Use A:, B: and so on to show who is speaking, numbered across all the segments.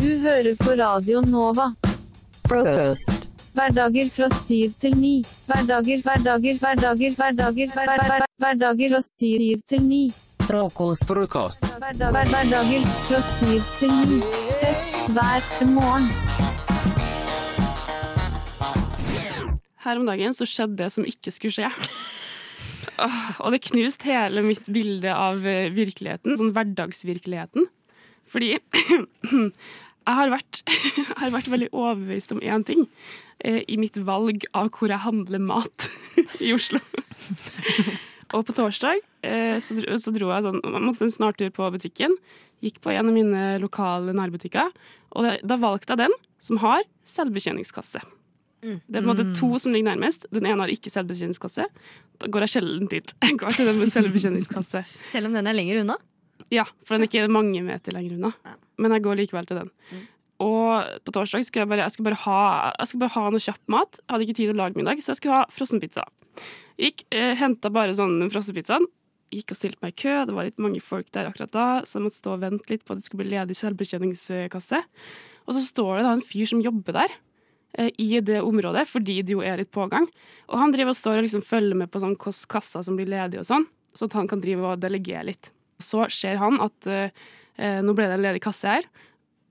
A: Du hører på Radio Nova.
B: Frokost.
A: Hverdager fra syv til ni. Hverdager, hverdager, hverdager, hverdager, hver- hver- hver- hverdager fra syv til ni.
B: Frokost.
C: Frokost.
A: Hverdag- hver- Hverdager fra syv til ni. Fest hver morgen.
D: Her om dagen så skjedde det som ikke skulle skje. Åh, Og det knuste hele mitt bilde av eh, virkeligheten, sånn hverdagsvirkeligheten. Fordi jeg har vært, jeg har vært veldig overbevist om én ting eh, i mitt valg av hvor jeg handler mat i Oslo. Og på torsdag eh, så dro, så dro jeg sånn, jeg måtte en snartur på butikken. Gikk på en av mine lokale nærbutikker. Og da, da valgte jeg den som har selvbetjeningskasse. Det er på en måte to som ligger nærmest. Den ene har ikke selvbetjeningskasse. Da går jeg sjelden dit. Jeg går til den med selvbetjeningskasse.
E: Selv om den er lenger unna.
D: Ja, for den er ikke mange meter lenger unna. Men jeg går likevel til den. Og på torsdag skulle jeg bare, jeg skulle bare, ha, jeg skulle bare ha noe kjapp mat. Jeg hadde ikke tid til å lage middag, så jeg skulle ha frossenpizza. Gikk, eh, Henta bare sånn den frossenpizzaen. Gikk og stilte meg i kø. Det var litt mange folk der akkurat da, så jeg måtte stå og vente litt på at det skulle bli ledig selvbetjeningskasse. Og så står det da en fyr som jobber der. eh, I det området, fordi det jo er litt pågang. Og han driver og står og liksom følger med på sånn hvilke kasser som blir ledige, og sånn, så at han kan drive og delegere litt. Så ser han at eh, eh, nå ble det en ledig kasse her.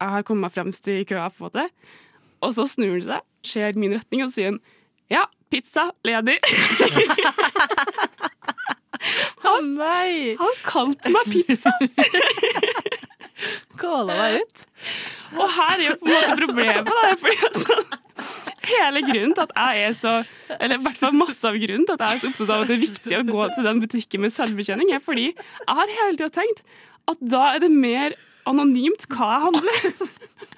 D: Jeg har kommet meg fremst i køa, på en måte. Og så snur han seg, ser min retning og sier han, ja, pizza, ledig.
E: Å nei!
D: Han kalte meg pizza!
E: Kåla meg ut.
D: Og her er jo på en måte problemet. Da, fordi at sånn, hele grunnen til at jeg er så Eller i hvert fall masse av grunnen til at jeg er så opptatt av at det er viktig å gå til den butikken med selvbetjening, er fordi jeg har hele tida tenkt at da er det mer anonymt hva jeg handler.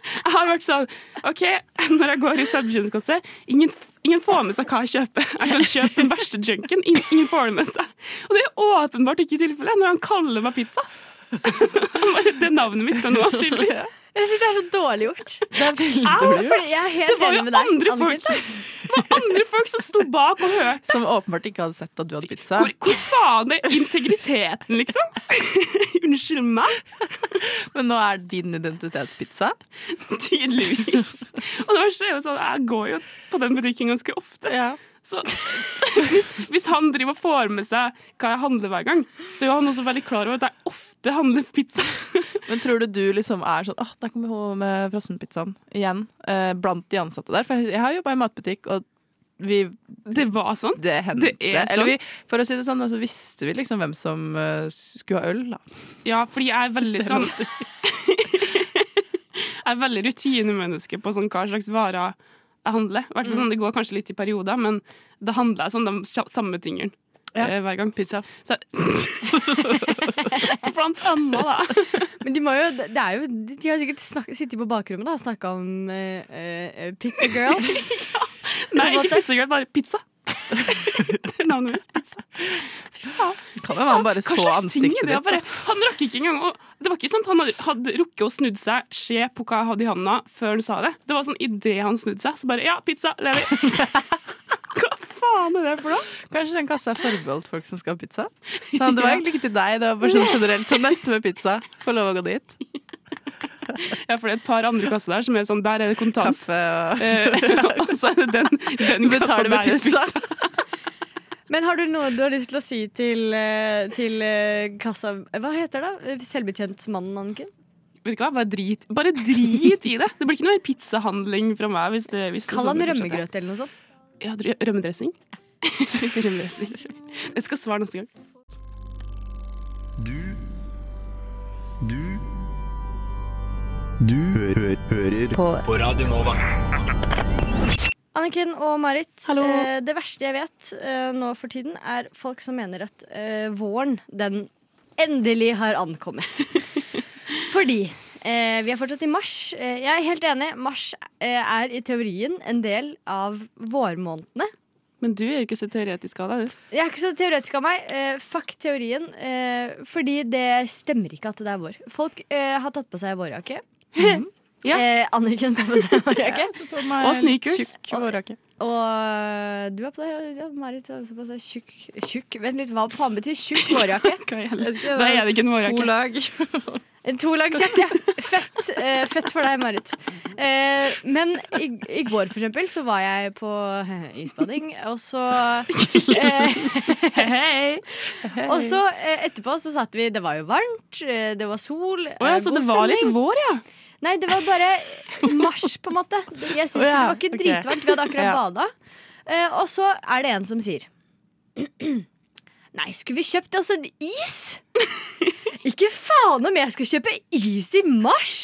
D: Jeg har vært sånn OK, når jeg går i selvbetjeningskasse ingen, ingen får med seg hva jeg kjøper. Jeg kan kjøpe den verste junken. Ingen, ingen får det med seg. Og det er åpenbart ikke tilfellet når han kaller meg pizza. Det er navnet mitt fra nå av, tydeligvis.
E: Jeg synes det er så dårlig gjort.
D: Au,
E: Jeg er- jeg er
D: Det
E: helt
D: var jo
E: enig med deg.
D: andre
E: Anniken.
D: folk Det var andre folk som sto bak og hørte.
F: Som åpenbart ikke hadde sett at du hadde pizza.
D: Hvor, hvor faen er integriteten, liksom? Unnskyld meg,
F: Men nå er din identitet pizza.
D: tydeligvis. Og det verste er jo sånn, jeg går jo på den butikken ganske ofte. Så hvis, hvis han driver og får med seg hva jeg handler hver gang, så er jo han også veldig klar over at jeg ofte handler pizza.
F: Men tror du du liksom er sånn Åh, der kommer hun med frossenpizzaen igjen. Eh, blant de ansatte der. For jeg, jeg har jobba i matbutikk, og vi
D: Det var sånn.
F: Det hendte.
D: Det er sånn.
F: Eller vi, for å si det sånn, altså, visste vi liksom hvem som eh, skulle ha øl, da.
D: Ja, fordi jeg er veldig sånn Jeg er veldig rutinemenneske på sånn hva slags varer jeg handler. I hvert fall sånn, Det går kanskje litt i perioder, men da handler jeg sånn de sja- samme tingene.
F: Ja.
D: eh, Hver gang. Pizza. Så, blant annet, da.
E: Men de, må jo, det er jo, de har sikkert snak, sittet på bakrommet da, og snakka om eh, eh, Pizza Girl.
D: Nei,
E: måte.
D: ikke pizza, Girl, bare pizza. Det er navnet mitt. Pizza. Fy faen.
F: Kan hende han bare
D: Hva
F: så
D: slags ting
F: ansiktet
D: er det?
F: ditt.
D: Bare, han rakk ikke engang å Det var ikke sånn at han hadde, hadde rukket å snudd seg, se på hva jeg hadde i handa, før han sa det. Det var sånn idet han snudde seg, så bare Ja, pizza! Levi! hva faen er det for noe?
F: Kanskje den kassa er forbeholdt folk som skal ha pizza? Sånn, det var egentlig ikke til deg, det var bare sånn generelt. Så neste med pizza, får lov å gå dit.
D: Ja, for det er et par andre kasser der som er sånn Der er det kontant.
F: Kaffe og
D: Eh, og så er det den, den kassa
F: Betaler
D: der
F: med
D: er det
F: pizza.
E: Men har du noe du har lyst til å si til, eh, til eh, kassa Hva heter det? Selvbetjentmannen, Anniken?
D: Vet du hva, bare drit, bare drit i det! Det blir ikke noe mer pizzahandling fra meg. Hvis det, hvis det
E: Kall han
D: det fortsetter.
E: rømmegrøt eller noe sånt.
D: Ja, dr- rømmedressing. rømmedressing. Jeg skal svare neste gang.
G: Du Du Du hø hø hører på. Radio Nova.
E: Anniken og Marit,
D: Hallo.
E: eh, det verste jeg vet eh, nå for tiden, er folk som mener at eh, våren, den endelig har ankommet. Fordi eh, vi er fortsatt i mars. Eh, jeg er helt enig. Mars eh, er i teorien en del av vårmånedene.
D: Men du er jo ikke så teoretisk av deg, du.
E: Jeg er ikke så teoretisk av meg. Eh, fuck teorien. Eh, fordi det stemmer ikke at det er vår. Folk eh, har tatt på seg vårjakke.
D: Ja.
E: Eh, Anniken tar på seg vårjakke.
D: Og
E: Eh,
D: sneakers.
E: Og du er på deg, ja, Marit har også på seg tjukk Tjukk, vent litt, hva faen betyr tjukk vårjakke?
D: Hva i helvete? Da er det ikke en vårjakke.
E: En tolagsjakke. Fett, eh, fett for deg, Marit. Eh, men i, i går, for eksempel, så var jeg på eh, isbading, og så eh,
D: Hei!
E: Og så eh, etterpå så satt vi Det var jo varmt, eh, det var sol, eh,
D: Å ja, så det var litt vår, ja.
E: Nei, det var bare mars, på en måte. Jeg synes
F: Å ja,
E: ikke Det var ikke
F: ok.
E: dritvarmt. Vi hadde akkurat
F: Ja.
E: bada. Eh, og så er det en som sier Nei, skulle vi kjøpt oss en is? ikke faen om jeg skal kjøpe is i mars!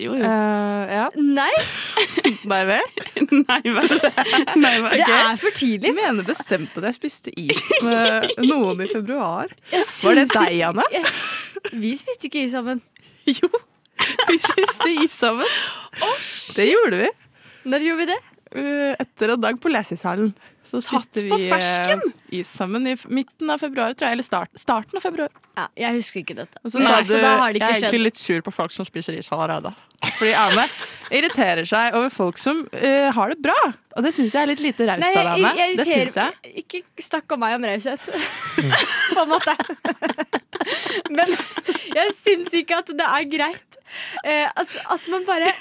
D: Jo, jo.
F: Eh, ja.
E: Nei,
F: Nei vel?
D: Nei vel. Nei vel.
E: det
F: Ok.
E: er for tidlig.
F: Jeg mener bestemt at jeg spiste is med noen i februar.
E: Jeg
F: Var det
E: synes-
F: deg, Anne?
E: Vi spiste ikke is sammen.
F: Jo, vi spiste is sammen. det gjorde vi.
E: Når gjorde vi det?
F: Eh, Etter en dag på lesesalen. Så
D: Tatt
F: spiste
D: på
F: vi eh,
D: fersken!
F: is sammen i f- midten av februar, tror jeg. Eller start, starten av februar.
E: Ja, jeg husker ikke dette.
F: Og så
E: Nei,
F: sa du
E: så da har
F: jeg
E: det ikke
F: er egentlig
E: skjedd.
F: litt sur på folk som spiser is allerede. Fordi Ane irriterer seg over folk som eh, har det bra. Og det syns jeg er litt lite raust av deg, Ane. Det syns jeg.
E: Ikke snakk om meg om raushet. På en måte. Men jeg syns ikke at det er greit eh, at, at man bare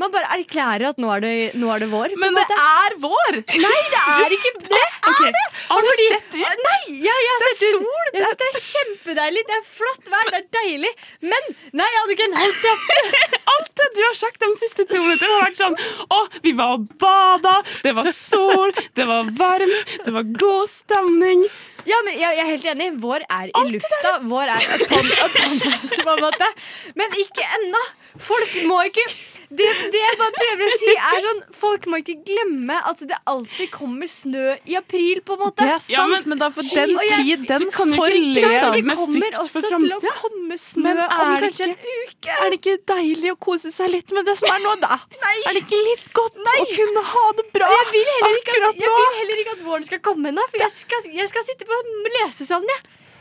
E: man bare erklærer at nå er det, nå er det vår. på en
F: Men det
E: måte.
F: er vår!
E: Nei, det er ikke det!
F: Er det? Har du sett ut?
E: Nei, ja, jeg har
F: Det er
E: sett ut.
F: sol,
E: Jeg synes det er kjempedeilig. Det er flott vær, det er deilig. Men nei, Anniken, hold kjeft!
D: Alt det du har sagt de siste to minutter, har vært sånn Å, vi var og bada, det var sol, det var varmt, det var god stemning.
E: Ja, men jeg, jeg er helt enig. Vår er i lufta. Vår er upon, upon us, på en måte. Men ikke ennå. Folk må ikke det, det jeg bare prøver å si, er sånn Folk må ikke glemme at det alltid kommer snø i april, på en måte.
F: Det er sant,
D: Ja, men-
F: men, da for den
E: Og jeg-
F: tid, den
D: du kan jo ikke
F: sorg
D: leve
E: Ja, det
D: med frykt
E: liksom. kommer
D: for
E: også til å
D: fremtiden.
E: komme snø
F: Men er
E: om
F: det
E: kanskje en uke.
F: Er det ikke deilig å kose seg litt med det som er nå, da? Er det ikke litt godt å kunne ha det bra
E: Jeg vil heller ikke at,
F: akkurat
E: jeg
F: nå?
E: vil heller ikke at våren skal komme ennå. For jeg skal, jeg skal sitte på lesesalen jeg,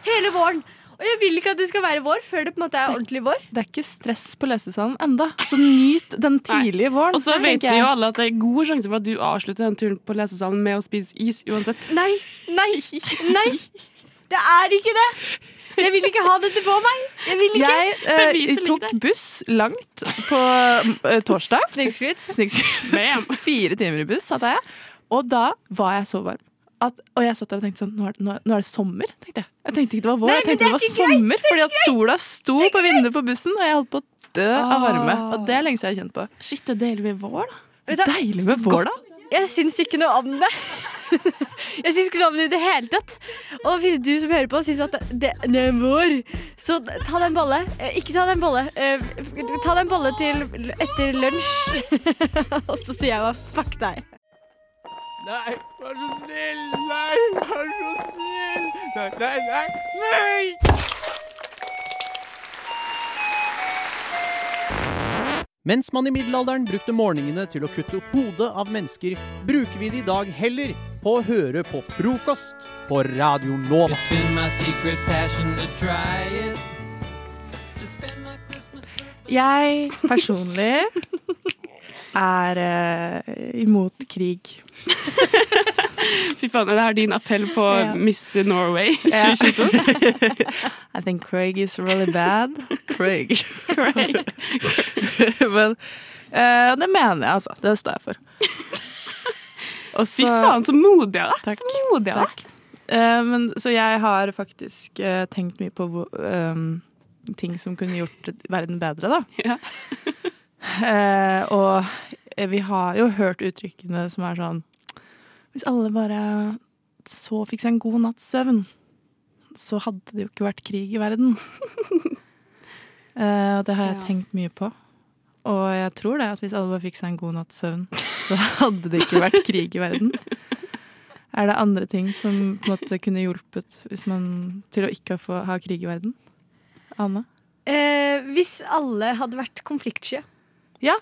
E: hele våren. Og jeg vil ikke at det skal være vår før det på en måte er ordentlig vår.
F: Det er ikke stress på lesesalen enda, så nyt den tidlige våren.
D: Og så
F: tenker
D: vet vi
F: jeg.
D: jo alle at det er god sjanse for at du avslutter den turen på lesesalen med å spise is uansett.
E: Nei, nei, nei. Det er ikke det. Jeg vil ikke ha dette på meg. Jeg vil ikke.
F: Jeg eh,
D: Beviser litt
F: tok
D: det.
F: buss langt på eh, torsdag.
E: Snikskryt.
F: Snikskryt.
D: Bam.
F: Fire timer i buss satt jeg, og da var jeg så varm. At, og jeg satt der og tenkte sånn, nå er, det- nå, er- nå er det sommer, tenkte jeg. Jeg tenkte ikke det var vår,
E: Nei,
F: jeg
E: men
F: tenkte det, var
E: det er ikke greit,
F: sommer, fordi at sola sto på vinduet på bussen, og jeg holdt på å dø av varme. Og det er lenge siden jeg har kjent på.
D: Shit, det er deilig med vår, da.
E: Vet du hva?
F: Deilig med vår, da.
E: Jeg syns ikke noe om det. Jeg syns ikke noe om det i det hele tatt. Og hvis du som hører på syns at det, det er vår, så ta deg en bolle. Eh, Ikke ta deg en bolle. Eh, Ta deg en bolle til l- etter lunsj. Og så sier jeg bare fuck deg.
G: Nei, vær så snill! Nei, vær så snill! Nei, nei, nei! nei.
C: Mens man i middelalderen brukte morgenene til å kutte hodet av mennesker, bruker vi det i dag heller på å høre på frokost på Radio Nova.
F: Jeg personlig er eh, imot krig.
D: Fy faen, det er din appell på
F: Ja.
D: Miss Norway
F: Ja.
D: 2022.
F: I think Craig is really bad. Craig. Men eh, det mener jeg, altså. Det står jeg for. Og
D: Fy
F: så-
D: faen, så modig av deg.
F: Takk.
D: Så modig av deg.
F: Eh, men, så jeg har faktisk eh, tenkt mye på hvor, ehm, ting som kunne gjort verden bedre, da.
D: Ja.
F: Eh, og eh, vi har jo hørt uttrykkene som er sånn Hvis alle bare så fikk seg en god natts søvn, så hadde det jo ikke vært krig i verden. Eh, Og det har jeg
D: Ja.
F: tenkt mye på. Og jeg tror det at hvis alle bare fikk seg en god natts søvn, så hadde det ikke vært krig i verden. Er det andre ting som på en måte kunne hjulpet hvis man, til å ikke få, ha krig i verden? Anne?
E: Eh, hvis alle hadde vært konfliktsky,
F: Ja,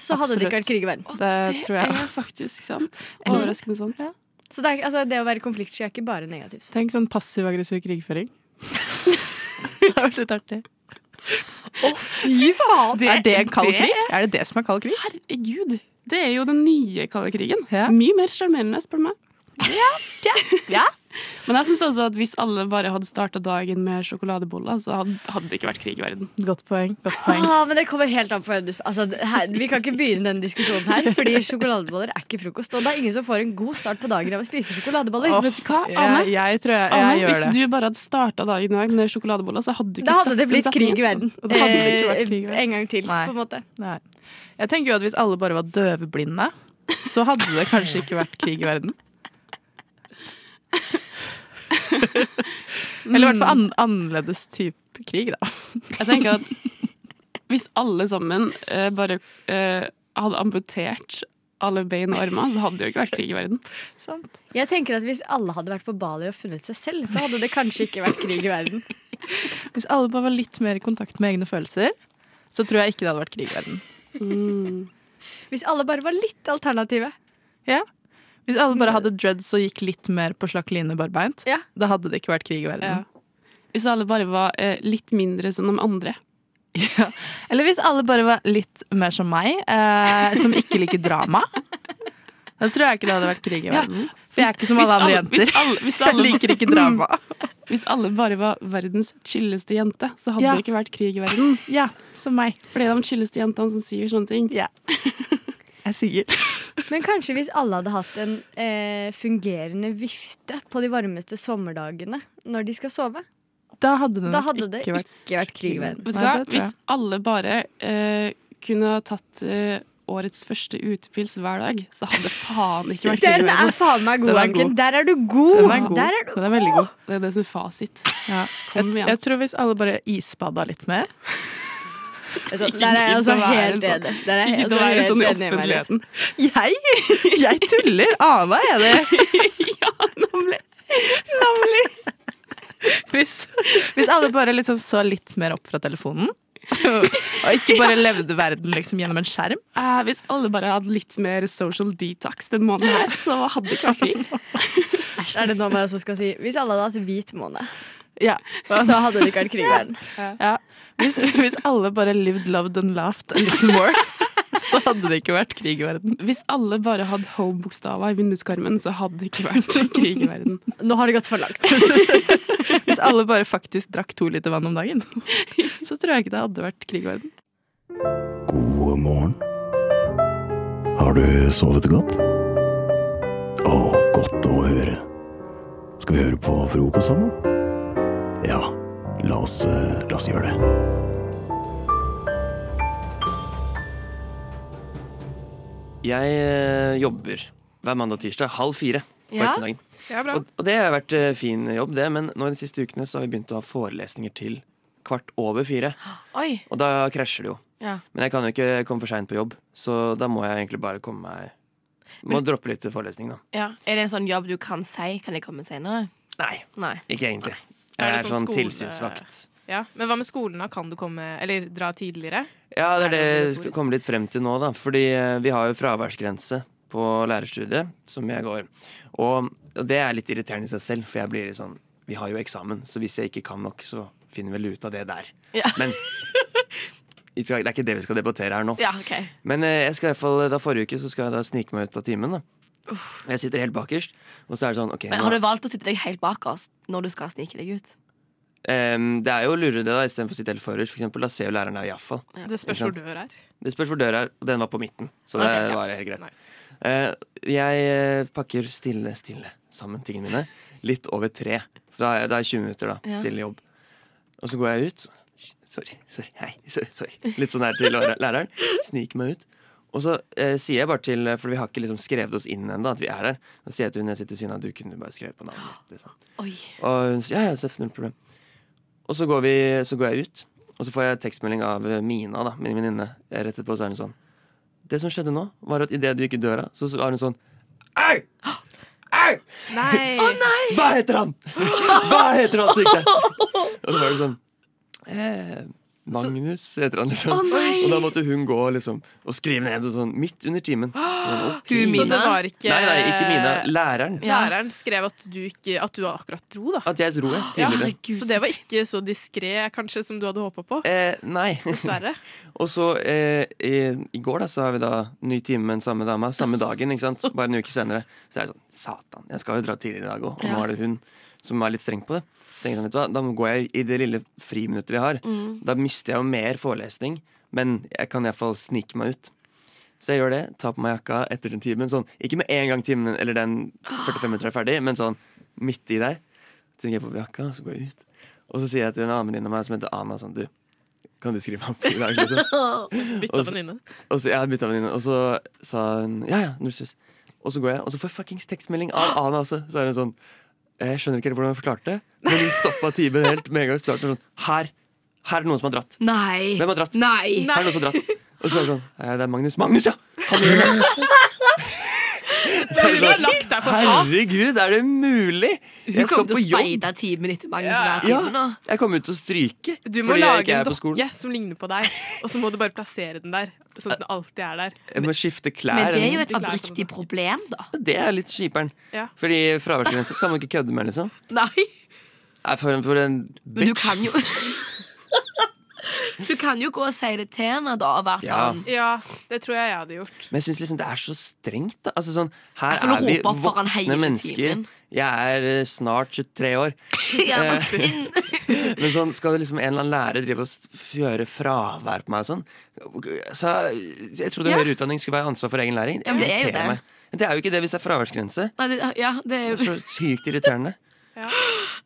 E: så hadde det
F: absolutt.
E: ikke vært krig i verden.
F: Det tror jeg.
D: er faktisk sant.
F: Eller-
D: Overraskende sant.
F: Ja.
E: Så det, er, altså, det å være konfliktsky er ikke bare negativt.
F: Tenk sånn passiv-aggressiv krigføring. det hadde vært litt artig.
E: Fy faen!
F: er det en kald krig? Er det det som er kald krig?
E: Eh,
D: Herregud. Det er jo den nye kalde krigen.
F: Ja.
D: Mye mer sjarmerende, spør du meg.
F: Ja.
D: Men jeg syns også at hvis alle bare hadde starta dagen med sjokoladeboller, så hadde, hadde det ikke vært krig i verden.
F: Godt poeng. godt poeng.
E: Ah, men det kommer helt an på hvem du altså, det her, Vi kan ikke begynne denne diskusjonen her, fordi sjokoladeboller er ikke frokost. Og det er ingen som får en god start på dagen av å spise sjokoladeboller.
D: Vet du hva,
F: Ah,
D: Ane?
F: Jeg, jeg tror jeg,
D: Ane,
F: jeg gjør
D: hvis
F: det.
D: du bare hadde starta dagen i dag med sjokoladeboller, så hadde du ikke
E: Da hadde
D: sagt
E: det
D: den
E: blitt
D: setningen.
E: krig i verden.
F: Og det hadde ikke vært
E: Eh,
F: krig i verden.
E: En gang til,
F: Nei.
E: på en måte.
F: Nei. Jeg tenker jo at hvis alle bare var døvblinde, så hadde det kanskje ikke vært krig i verden. Eller i hvert fall an annerledes type krig, da.
D: Jeg tenker at hvis alle sammen eh, bare eh, hadde amputert alle bein og armer, så hadde det jo ikke vært krig i verden.
F: Sant?
E: Jeg tenker at Hvis alle hadde vært på Bali og funnet seg selv, så hadde det kanskje ikke vært krig i verden.
F: Hvis alle bare var litt mer i kontakt med egne følelser, så tror jeg ikke det hadde vært krig i verden.
D: Mm.
E: Hvis alle bare var litt alternative.
F: Ja. Hvis alle bare hadde dreads og gikk litt mer på slakk line barbeint,
E: Ja.
F: da hadde det ikke vært krig i verden.
D: Hvis alle bare var eh, litt mindre som de andre.
F: Ja. Eller hvis alle bare var litt mer som meg, eh, som ikke liker drama. Da tror jeg ikke det hadde vært krig i
D: Ja.
F: verden. For jeg er ikke som
D: Hvis
F: alle andre
D: Hvis
F: jenter.
D: alle, hvis
F: Jeg
D: alle,
F: liker ikke drama.
D: Hvis alle bare var verdens chilleste jente, så hadde
F: Ja.
D: det ikke vært krig i verden.
F: Ja, som meg.
D: For det er de chilleste jentene som sier sånne ting.
F: Ja. Jeg sier.
E: Men kanskje hvis alle hadde hatt en eh, fungerende vifte på de varmeste sommerdagene når de skal sove.
F: Da hadde det
E: Da
F: nok
E: hadde det
F: ikke vært
E: ikke vært krig i verden.
D: Vet du
F: Nei,
D: hva?
F: det tror jeg.
D: Hvis alle bare eh, kunne ha tatt eh, årets første utepils hver dag, så hadde det faen ikke vært krig i
E: Den er
D: verden.
E: faen meg god,
F: Den er
E: Anken.
F: god.
E: Der er du god!
F: Den er god.
E: Der er du
F: Den er veldig god.
D: Det er det som er fasit.
F: Ja.
D: Kom
F: Jeg,
D: igjen.
F: jeg tror hvis alle bare isbada litt mer
E: Der er jeg
D: gidd å
E: altså
D: være en
E: helt
D: sånn-
E: enig. Der er jeg
D: Ikke det
E: altså
D: være
E: helt
D: sånn i
E: enig med deg.
D: offentligheten.
F: Jeg? Jeg tuller! Ana er det.
D: ja, nemlig. Nemlig.
F: Hvis, hvis alle bare liksom så litt mer opp fra telefonen, og ikke bare levde verden liksom gjennom en skjerm
D: Eh, hvis alle bare hadde litt mer social detox den måneden her, så hadde det ikke vært krig.
E: Æsj, er det nå man også skal si Hvis alle hadde hatt hvit måned,
F: Ja.
E: så hadde det ikke vært krig i verden.
F: Ja. Hvis, hvis alle bare lived, loved and laughed a little more, så hadde det ikke vært krig i verden.
D: Hvis alle bare hadde home-bokstaver i vinduskarmen, så hadde det ikke vært krig i verden.
E: Nå har det gått for langt.
F: Hvis alle bare faktisk drakk to liter vann om dagen, så tror jeg ikke det hadde vært krig i verden.
H: God morgen. Har du sovet godt? Å, godt å høre. Skal vi høre på frokost sammen? Ja, la oss, eh, la oss gjøre det.
I: Jeg eh, jobber hver mandag og tirsdag halv fire på
E: Ja.
I: ettermiddagen. Og, og det har vært eh, fin jobb, det, men nå i de siste ukene så har vi begynt å ha forelesninger til kvart over fire.
E: Oi.
I: Og da krasjer det jo.
E: Ja.
I: Men jeg kan jo ikke komme for seint på jobb, så da må jeg egentlig bare komme meg Må droppe litt forelesning, da.
J: Er det en sånn jobb du kan si? Kan jeg komme senere?
I: Nei,
J: Nei.
I: ikke egentlig.
K: Er
I: Jeg
K: det
I: er
K: sånn
I: sånn
K: skole-
I: tilsynsvakt.
K: Ja, Men hva med skolen, da? Kan du komme Eller dra tidligere?
I: Ja,
K: Er
I: det er
K: det
I: det jeg
K: obligatorisk?
I: skal komme litt frem til nå, da. Fordi eh, vi har jo fraværsgrense på lærerstudiet, som jeg går. Og det er litt irriterende i seg selv, for jeg blir litt sånn Vi har jo eksamen, så hvis jeg ikke kan nok, så finner vi vel ut av det der.
J: Ja.
I: Men vi skal- det er ikke det vi skal debattere her nå.
J: Ja, ok.
I: Men eh, jeg skal i hvert fall, da forrige uke så skal jeg da snike meg ut av timen. da Jeg sitter helt bakerst, og så er det sånn ok,
J: Men
I: nå,
J: har du valgt å sitte deg helt bak oss når du skal snike deg ut?
I: em, Ehm, Det er jo lurere det, da, istedenfor å sitte helt forrest. For eksempel, da ser jo læreren deg iallfall.
K: Det spørs
I: Ikke
K: hvor
I: sant?
K: dør er.
I: Det spørs hvor døra er, og den var på midten. Så det
K: Ok, ja.
I: var helt greit.
K: Nice.
I: Eh, jeg eh, pakker stille, stille sammen tingene mine. Litt over tre. For da er det er 20 minutter da,
J: Ja.
I: til jobb. Og så går jeg ut. Sorry, sorry, hei, sorry, sorry. Litt sånn her til lærer- læreren. Sniker meg ut. Og så eh, sier jeg bare til For vi har ikke liksom skrevet oss inn ennå at vi er der. Og så sier jeg til hun jeg sitter ved siden av, du kunne bare skrevet på navnet mitt. Liksom.
J: Oi.
I: Og hun sier ja, ja, Seff, null problem. Og så går, vi, så går jeg ut, og så får jeg tekstmelding av eh, Mina, da, min venninne. Rett etterpå så er hun sånn Det som skjedde nå, var at idet du gikk i døra, så var hun sånn Au! Au!
K: Nei.
I: Hva heter han?! Hva heter han? Så gikk jeg. Og så var det sånn eh, Magnus heter han, liksom.
K: Å, nei!
I: og da måtte hun gå liksom, og skrive ned og sånn midt under timen. Så, sånn, ok.
K: Hun Så det Mina? var ikke-
I: Nei, nei, ikke Mina. Læreren.
K: Læreren skrev at du, ikke, at du akkurat dro, da.
I: At jeg dro jeg tidligere.
K: Så det var ikke så diskré, kanskje, som du hadde håpa på.
I: Eh, nei.
K: Dessverre.
I: Og så eh, i, i går da, så har vi da ny time med den samme dama, samme dagen, ikke sant? bare en uke senere. Så jeg er sånn, satan, jeg skal jo dra tidligere i dag òg, og nå
L: Ja.
I: er det hun som er litt streng på det. Så tenkte jeg sånn, vet du hva, Da må- går jeg i det lille friminuttet vi har.
L: Mm.
I: Da mister jeg jo mer forelesning, men jeg kan iallfall snike meg ut. Så jeg gjør det, tar på meg jakka etter den timen. Sånn, ikke med en gang timen eller den 45 minutter er ferdig, men sånn midt i der. Så tenker jeg på jakka, så går jeg ut. Og så sier jeg til en annen venninne av meg som heter Ana sånn, du, kan du skrive meg opp i dag? Liksom?
K: Bytta
I: Og så-
K: venninne.
I: Og så, ja, bytta venninne. Og så sa hun ja, ja, når du syns. Og så går jeg, og så får jeg fuckings tekstmelding av Ana også. Så er hun sånn Jeg skjønner ikke helt hvordan hun forklarte det, men hun stoppa timen helt med en gang. og forklarte Sånn, her, her er det noen som har dratt.
J: Nei.
I: Hvem har dratt?
J: Nei.
I: Her er det noen som har dratt. Og så er det sånn «Eh, Det er Magnus. Magnus, ja! Han gjør det.
J: Hun har lagt deg for hat.
I: Herregud, er det mulig?
J: Hun
I: Jeg skal
J: kommer til
I: på
J: å
I: jobb.
J: speide timen etter Magnus. hver
I: Ja,
J: time nå.
I: jeg kommer ut til å stryke.
K: Du må
I: fordi jeg
K: lage
I: ikke er
K: en
I: på skolen.
K: dokke som ligner på deg, og så må du bare plassere den der. Sånn at den alltid er der.
I: Jeg må skifte klær. sånn.
J: Men det er jo
I: eller
J: et oppriktig problem, da.
I: noe. Det er litt kjiperen.
K: Ja.
I: Fordi fraværsgrense skal man ikke kødde med, liksom.
J: Nei,
I: Nei, for, en- for en
J: men du
I: bitch.
J: kan jo Du kan jo gå og si det til henne, da, og være
I: Ja.
J: sånn.
K: Ja, det tror jeg jeg hadde gjort.
I: Men jeg syns liksom det er så strengt, da. Altså sånn,
J: Jeg
I: her
J: får lov
I: er vi
J: å rope opp for han hele
I: voksne mennesker.
J: timen.
I: Jeg er eh, snart 23 år.
J: Ja,
I: Eh, Men sånn, skal det liksom en eller annen lærer drive og s- gjøre fravær på meg og sånn? Så jeg trodde
J: Ja.
I: høyere utdanning skulle være ansvar for egen læring.
J: Ja, men det er jo
I: irriterer
J: det.
I: meg. Men Det er jo ikke det hvis det er fraværsgrense.
J: Nei, det, ja, det er
I: Det er
J: jo
I: så sykt irriterende.
K: Ja.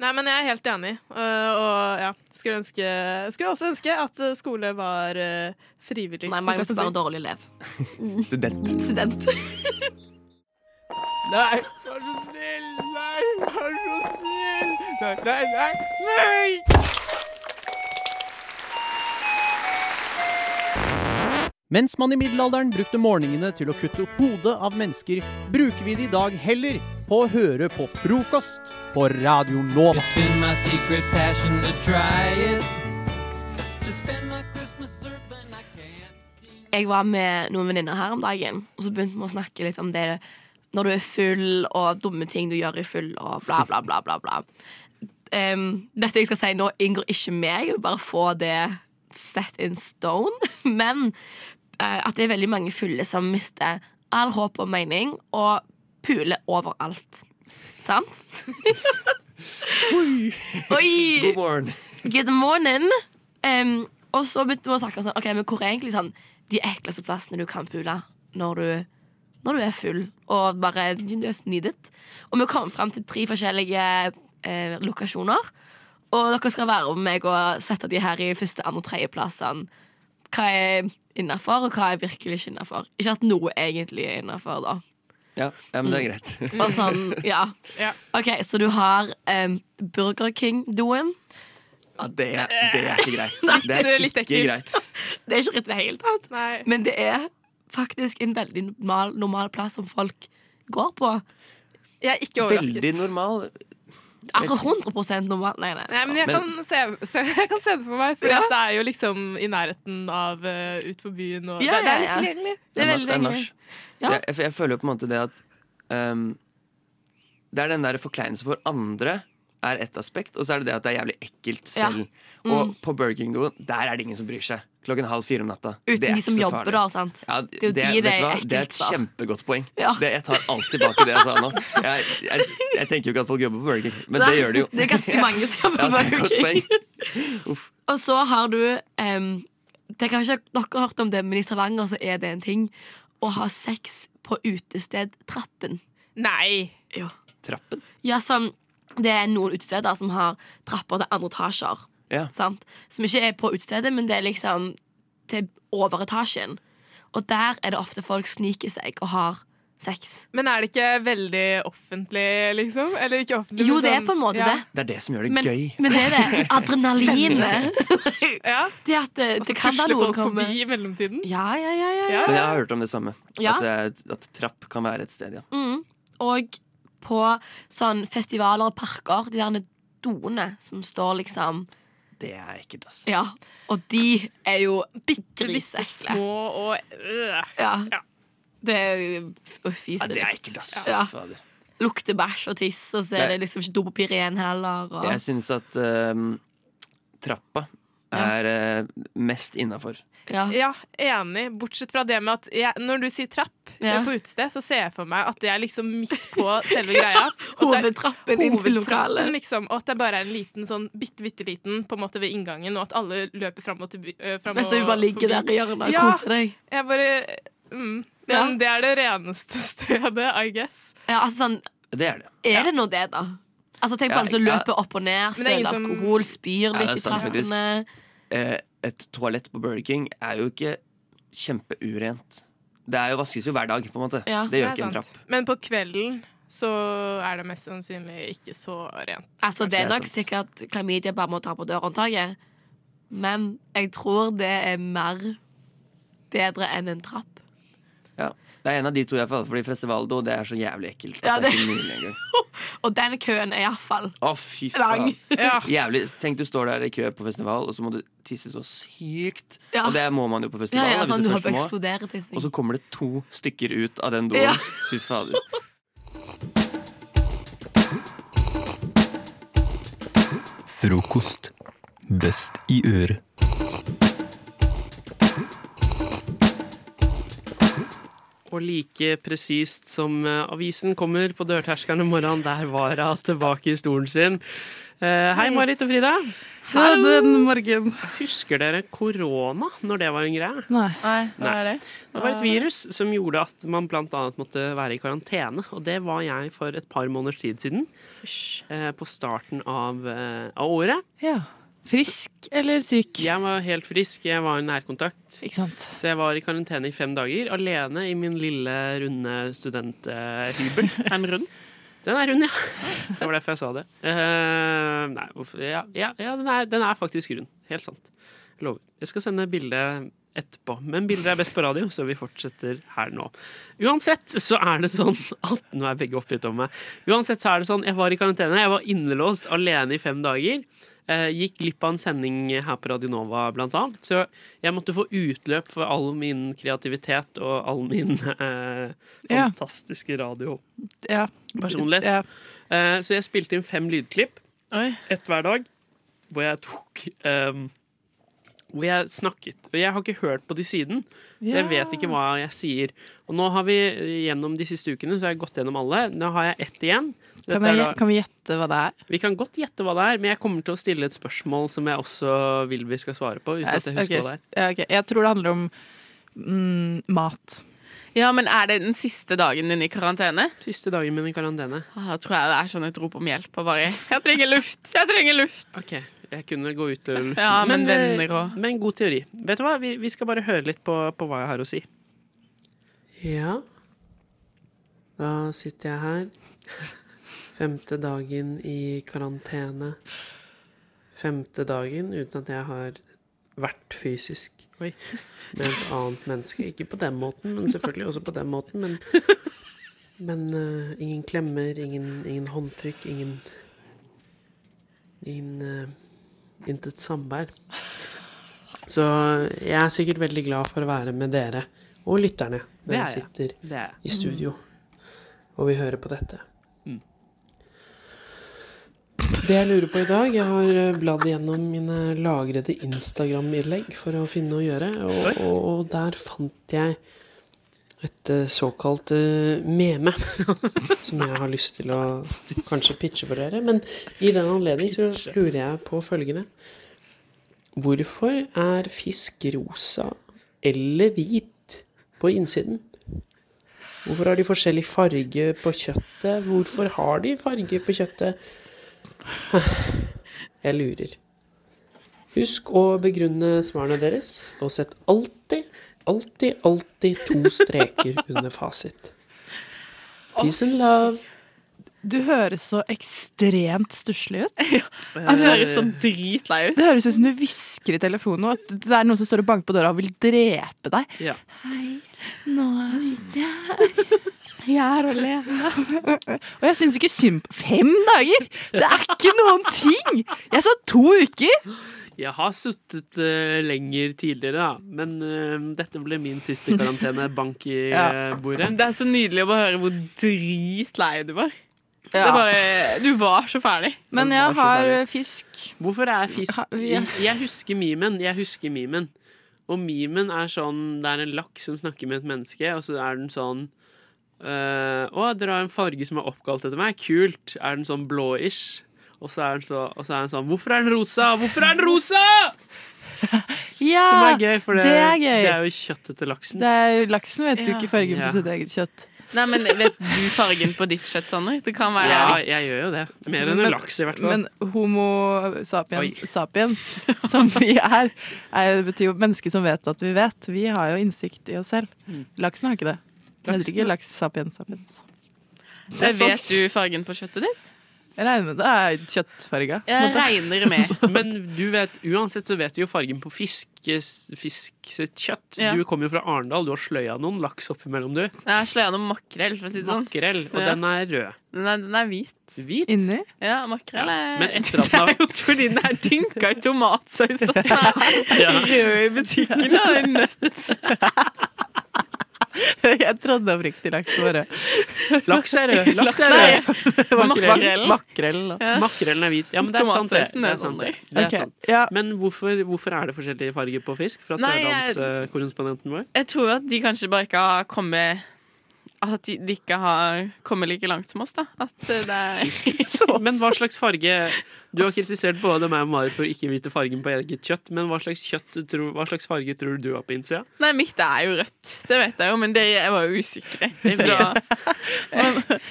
K: Nei, men jeg er helt enig. Uh, og ja, skulle, ønske, skulle også ønske at uh, skole var uh, frivillig.
J: Nei, Magnus er bare en dårlig elev.
I: Student.
J: Student.
G: Nei, vær så snill! Nei, vær så snill! Nei, nei, nei! nei.
C: Mens man i middelalderen brukte morgenene til å kutte hodet av mennesker, bruker vi det i dag heller på å høre på frokost på Radio Nova.
J: Jeg var med noen venninner her om dagen, og så begynte vi å snakke litt om det når du er full, og dumme ting du gjør i full, og bla, bla, bla, bla. bla. Em, dette jeg skal si nå, inngår ikke meg. Jeg vil bare få det set in stone. Men eh, at det er veldig mange fulle som mister all håp og mening, og puler overalt. Sant? Oi!
I: God morgen.
J: Good morning. Em, og så begynte vi å snakke om sånn, ok, men hvor er egentlig sånn, de ekleste plassene du kan pule når du, når du er full, og bare you just need it. Og vi kom frem til tre forskjellige eh, lokasjoner, og dere skal være med meg og sette de her i første, andre, tredje plassene. Hva er innenfor, og hva er virkelig ikke innenfor. Ikke at noe egentlig er innenfor, da.
I: Ja, ja men det er
J: Mm.
I: greit.
J: Og sånn, ja. Ok, så du har em, Burger King-doen.
I: Ja, det, det er ikke greit. Det er ikke greit.
J: Det er ikke rett i det hele tatt. Men det er faktisk en veldig normal, normal plass som folk går på.
K: Jeg er ikke overrasket.
I: Veldig normal.
J: Altså 100 normal. Nei, nei.
K: Nei, men jeg kan, se, se, jeg kan se det for meg, for
J: Ja.
K: det er jo liksom i nærheten av uh, ut på byen. Og, det,
J: Ja,
K: det er litt
J: ja, ja.
K: tilgjengelig.
J: Det er veldig
I: Det er nach.
J: tilgjengelig. Ja.
I: Jeg, jeg, jeg føler jo på en måte det at ehm, Det er den der forkleinelse for andre er ett aspekt, og så er det det at det er jævlig ekkelt
J: Ja.
I: selv.
J: Mm.
I: Og på Burger King-doen, der er det ingen som bryr seg. Klokken halv fire om natta.
J: Uten
I: Det er
J: de
I: ikke
J: som
I: så
J: jobber
I: farlig.
J: da, sant?
I: Ja,
J: Det
I: det,
J: er jo de
I: vet
J: det
I: du hva?
J: er
I: det er et
J: ekkelt
I: kjempegodt poeng.
J: Ja.
I: Det, jeg tar alt tilbake det jeg sa nå. Jeg, jeg, jeg tenker jo ikke at folk jobber på Burger King, men
J: Nei,
I: det gjør de jo.
J: det er ganske mange som jobber
I: Ja,
J: på
I: det er et
J: Burger
I: godt
J: King.
I: poeng.
J: Og så har du em, Det kan ikke dere har hørt om det, men i Stavanger så er det en ting å ha sex på utestedtrappen.
K: Nei!
J: Jo.
I: Trappen?
J: Ja, sånn, det er noen utesteder som har trapper til andre etasjer.
I: Ja.
J: Sant? Som ikke er på utestedet, men det er liksom til overetasjen. Og der er det ofte folk sniker seg og har sex.
K: Men er det ikke veldig offentlig, liksom? Eller ikke offentlig,
J: Jo,
K: men
J: det er
K: sånn-
J: på en måte
K: ja.
J: det.
I: Det er det som gjør det
J: Men,
I: gøy.
J: men det er det. Adrenalinet.
K: Det
J: at det,
F: Altså,
K: Og så
J: det kan være
K: tusler
J: noen
K: folk
J: kommer
K: forbi i mellomtiden.
J: Ja, ja, ja. ja, ja.
I: Men jeg har hørt om det samme.
J: Ja.
I: At, det er- at trapp kan være et sted, ja.
J: Mm. Og på sånn festivaler og parker, de der doene som står liksom
I: Det er ekkelt, ass.
J: Ja, og de er jo bitte, bitte
K: små og Øh.
J: ja. Det er jo å
I: Ja,
J: fise
I: det er
J: litt.
I: ekkelt, ass.
J: Ja.
I: Fy Fader.
J: Lukter bæsj og tiss, og så er det liksom ikke dopapir igjen heller. Og...
I: Jeg syns at ehm, trappa er eh, mest innafor.
J: Ja.
K: enig. Bortsett fra det med at jeg, når du sier trapp
I: Ja.
K: eh, på utested, så ser jeg for meg at det er liksom midt på selve greia. og
F: Altså,
K: så er
J: Hovedtrappen inn til lokalet.
K: Liksom, og at det bare er en liten sånn bitte, bitte liten på en måte ved inngangen, og at alle løper fram og tilbake.
J: Mens du bare ligger der i hjørnet og koser deg.
K: Jeg bare, mm, men
J: Ja.
K: det er det reneste stedet, I guess.
J: Ja, altså sånn,
I: Det er det.
J: er det nå det, da? Altså, tenk
I: Ja,
J: på alle som
I: ja.
J: løper opp og ned,
K: Men det er ingen
J: søler
K: som-
J: alkohol,
I: Ja,
J: spyr litt
I: det er
J: i
I: sant, faktisk.
J: trappene.
I: Eh, et toalett på Burger King er jo ikke kjempeurent. Det er jo vaskes jo hver dag, på en måte. det gjør
K: er
I: ikke en
K: sant.
I: trapp.
K: Men på kvelden så er det mest sannsynlig ikke så rent.
J: Altså,
K: kanskje.
J: det er nok sikkert klamydia bare må ta på dørhåndtaket, men jeg tror det er mer bedre enn en trapp.
I: Ja. Det er en av de to jeg faller for, fordi festivaldo det er så jævlig ekkelt. at
J: Ja,
I: det...
J: det-
I: er ikke mulig engang.
J: Og den køen er iallfall
I: Å, fy faen.
J: Lang. Ja.
I: Jævlig. Tenk du står der i kø på festival, og så må du tisse så sykt.
J: Ja.
I: Og det må man jo på
J: Ja,
I: festival. da,
J: ja,
I: hvis
J: sånn,
I: du
J: du
I: først
J: håper
I: må.
J: eksploderer tissing.
I: Og så kommer det to stykker ut av den doen.
J: Ja.
I: Fy fader.
L: Frokost. Best i øret.
M: Og like presist som eh, avisen kommer på dørterskelen om morgenen, der var hun tilbake i stolen sin. Eh, hei, Marit og Frida.
F: Ha den morgen.
M: Husker dere korona, når det var en greie?
F: Nei.
M: hva er det? Det var et virus som gjorde at man bl.a. måtte være i karantene. Og det var jeg for et par måneders tid siden. Eh, på starten av, eh, av året.
F: Ja. Frisk eller syk?
M: Jeg var helt frisk. Jeg var i nærkontakt.
F: Ikke sant?
M: Så jeg var i karantene i fem dager, alene i min lille, runde eh, studenthybel. Er den rund? Den er rund, ja. Det var derfor jeg sa det. Eh, nei, hvorfor Ja, ja, ja den, er, den er faktisk rund. Helt sant. Jeg lover. Jeg skal sende bilde etterpå. Men bilder er best på radio, så vi fortsetter her nå. Uansett så er det sånn at Nå er begge oppgitt om meg. Uansett så er det sånn, jeg var i karantene, jeg var innelåst alene i fem dager. Eh, gikk glipp av en sending her på Radionova, blant annet. Så jeg måtte få utløp for all min kreativitet og all min eh,
F: Ja.
M: fantastiske radio
F: Ja.
M: personlighet. Eh, så jeg spilte inn fem lydklipp. Ett hver dag. Hvor jeg tok ehm, Hvor jeg snakket. Og jeg har ikke hørt på de siden. Så
G: Ja.
M: jeg vet ikke hva jeg sier. Og nå har vi eh, gjennom de siste ukene Så har jeg gått gjennom alle. Nå har jeg ett igjen. Så
F: Kan,
M: dette er
F: jeg,
M: da-
F: kan vi gjette hva det er?
M: vi kan godt gjette hva det er, men jeg kommer til å stille et spørsmål som jeg også vil vi skal svare på. Uten at jeg husker
F: Ok,
M: hva det er.
F: Eh, s- ja, ok. Jeg tror det handler om mm, mat.
N: Ja, men er det den siste dagen din i karantene?
M: Siste dagen min i karantene.
N: Da tror jeg det er sånn et rop om hjelp. Og bare 'Jeg trenger luft! Jeg trenger luft!'
M: Ok, jeg kunne gå ut og lufte.
N: Ja, men
M: eh,
N: venner og-
M: Men god teori. Vet du hva, vi, vi skal bare høre litt på, på hva jeg har å si. Ja. Da sitter jeg her. Femte dagen i karantene. Femte dagen uten at jeg har vært fysisk med et annet menneske. Ikke på den måten, men selvfølgelig også på den måten. Men, men eh, ingen klemmer, ingen, ingen håndtrykk, ingen Ingen eh, Intet samvær. Så jeg er sikkert veldig glad for å være med dere og lytterne når
G: Det er
M: jeg
G: jeg.
M: sitter
G: Det er jeg.
M: i studio og vi hører på dette.
G: Mm.
M: Det jeg lurer på i dag Jeg har eh, bladd gjennom mine lagrede Instagram-innlegg for å finne noe å gjøre, og, og, og der fant jeg et eh, såkalt eh, meme som jeg har lyst til å kanskje pitche for dere. Men i den anledning så lurer jeg på følgende. Hvorfor er fisk rosa eller hvit på innsiden? Hvorfor har de forskjellig farge på kjøttet? Hvorfor har de farge på kjøttet? Jeg lurer. Husk å begrunne svarene deres, og sett alltid, alltid, alltid to streker under fasit. Peace and love.
F: Du høres så ekstremt stusslig ut.
N: Altså, du høres så dritlei ut.
F: Det høres ut som du hvisker i telefonen, og at det er noen som står og banker på døra og vil drepe deg.
M: Ja.
F: Hei, nå sitter jeg her. Jeg er alene. Og jeg syns ikke synd på Fem dager! Det er ikke noen ting! Jeg sa to uker!
M: Jeg har suttet eh, lenger tidligere, da. Men eh, dette ble min siste karantene. Bank i eh, bordet.
N: Men Det er så nydelig å bare høre hvor dritlei du var. Det er bare, du var så ferdig.
M: Men jeg har
N: fisk.
M: Hvorfor er fisk
N: Ha- vi-
M: Jeg jeg husker memen. Jeg husker memen. Og memen er sånn Det er en lakk som snakker med et menneske, og så er den sånn øh, Å, dere har en farge som er oppkalt etter meg. Kult. Er den sånn blå-ish? Og så er den så, og så er den sånn Hvorfor er den rosa? Hvorfor er den rosa?!
F: Ja,
M: Som er gøy, for det,
F: det er gøy.
M: det er jo kjøttet til laksen.
F: Det er jo, laksen vet jo
N: Ja.
F: ikke fargen
M: Ja.
F: på sitt eget kjøtt.
N: Nei, men Vet du fargen på ditt kjøtt, Sanner? Det kan være
M: Ja,
N: det er litt-
M: jeg gjør jo det. Mer enn en
F: Men-
M: laks, i hvert fall.
F: Men homo sapiens, sapiens som vi er, er, det betyr jo mennesker som vet at vi vet. Vi har jo innsikt i oss selv.
N: Mm.
F: Laksen har ikke det. Den heter ikke laks sapiens sapiens.
N: Eh, Vet du fargen på kjøttet ditt?
F: Jeg regner med det er kjøttfarga.
N: Jeg regner med.
M: Men du vet, uansett så vet du jo fargen på fiskes- fisk sitt kjøtt.
N: Ja.
M: Du kommer jo fra Arendal, du har sløya noen laks oppimellom, du.
N: Jeg slår gjennom makrell, for å si det sånn.
M: Makrell, og
N: Ja.
M: den er rød.
N: Den er, den er hvit.
M: Hvit?
F: Inni?
N: Ja, makrell er
M: Men etter at den
N: Det
M: har
N: er jo fordi den er dynka i tomatsaus og den
M: Ja.
N: er rød i butikken. Da. Det er nødt.
F: Jeg trodde oppriktig laks var rød.
M: Laks er rød. Laks er
F: Nei,
M: rød.
F: det var ikke
M: Makrell.
F: rød. Makrell. da.
M: Makrellen er hvit. Ja, men det er sant, det.
N: Tomatsausen
M: det,
N: er
M: er sant, det.
N: vanlig.
M: det er
N: Ok,
M: sant. Men hvorfor, hvorfor er det forskjellige farger på fisk? Fra
N: Nei, jeg-
M: sørlandskorrespondenten vår?
N: Jeg tror at de kanskje bare ikke har kommet At de, de ikke har kommet like langt som oss, da. At eh, det er
M: Men hva slags farge Du har kritisert både meg og Marit for ikke vite fargen på eget kjøtt, men hva slags, kjøtt du tror, hva slags farge tror du du har på innsida?
N: Nei, mitt er jo rødt. Det vet jeg jo, men det, jeg var jo usikker. i. Så da,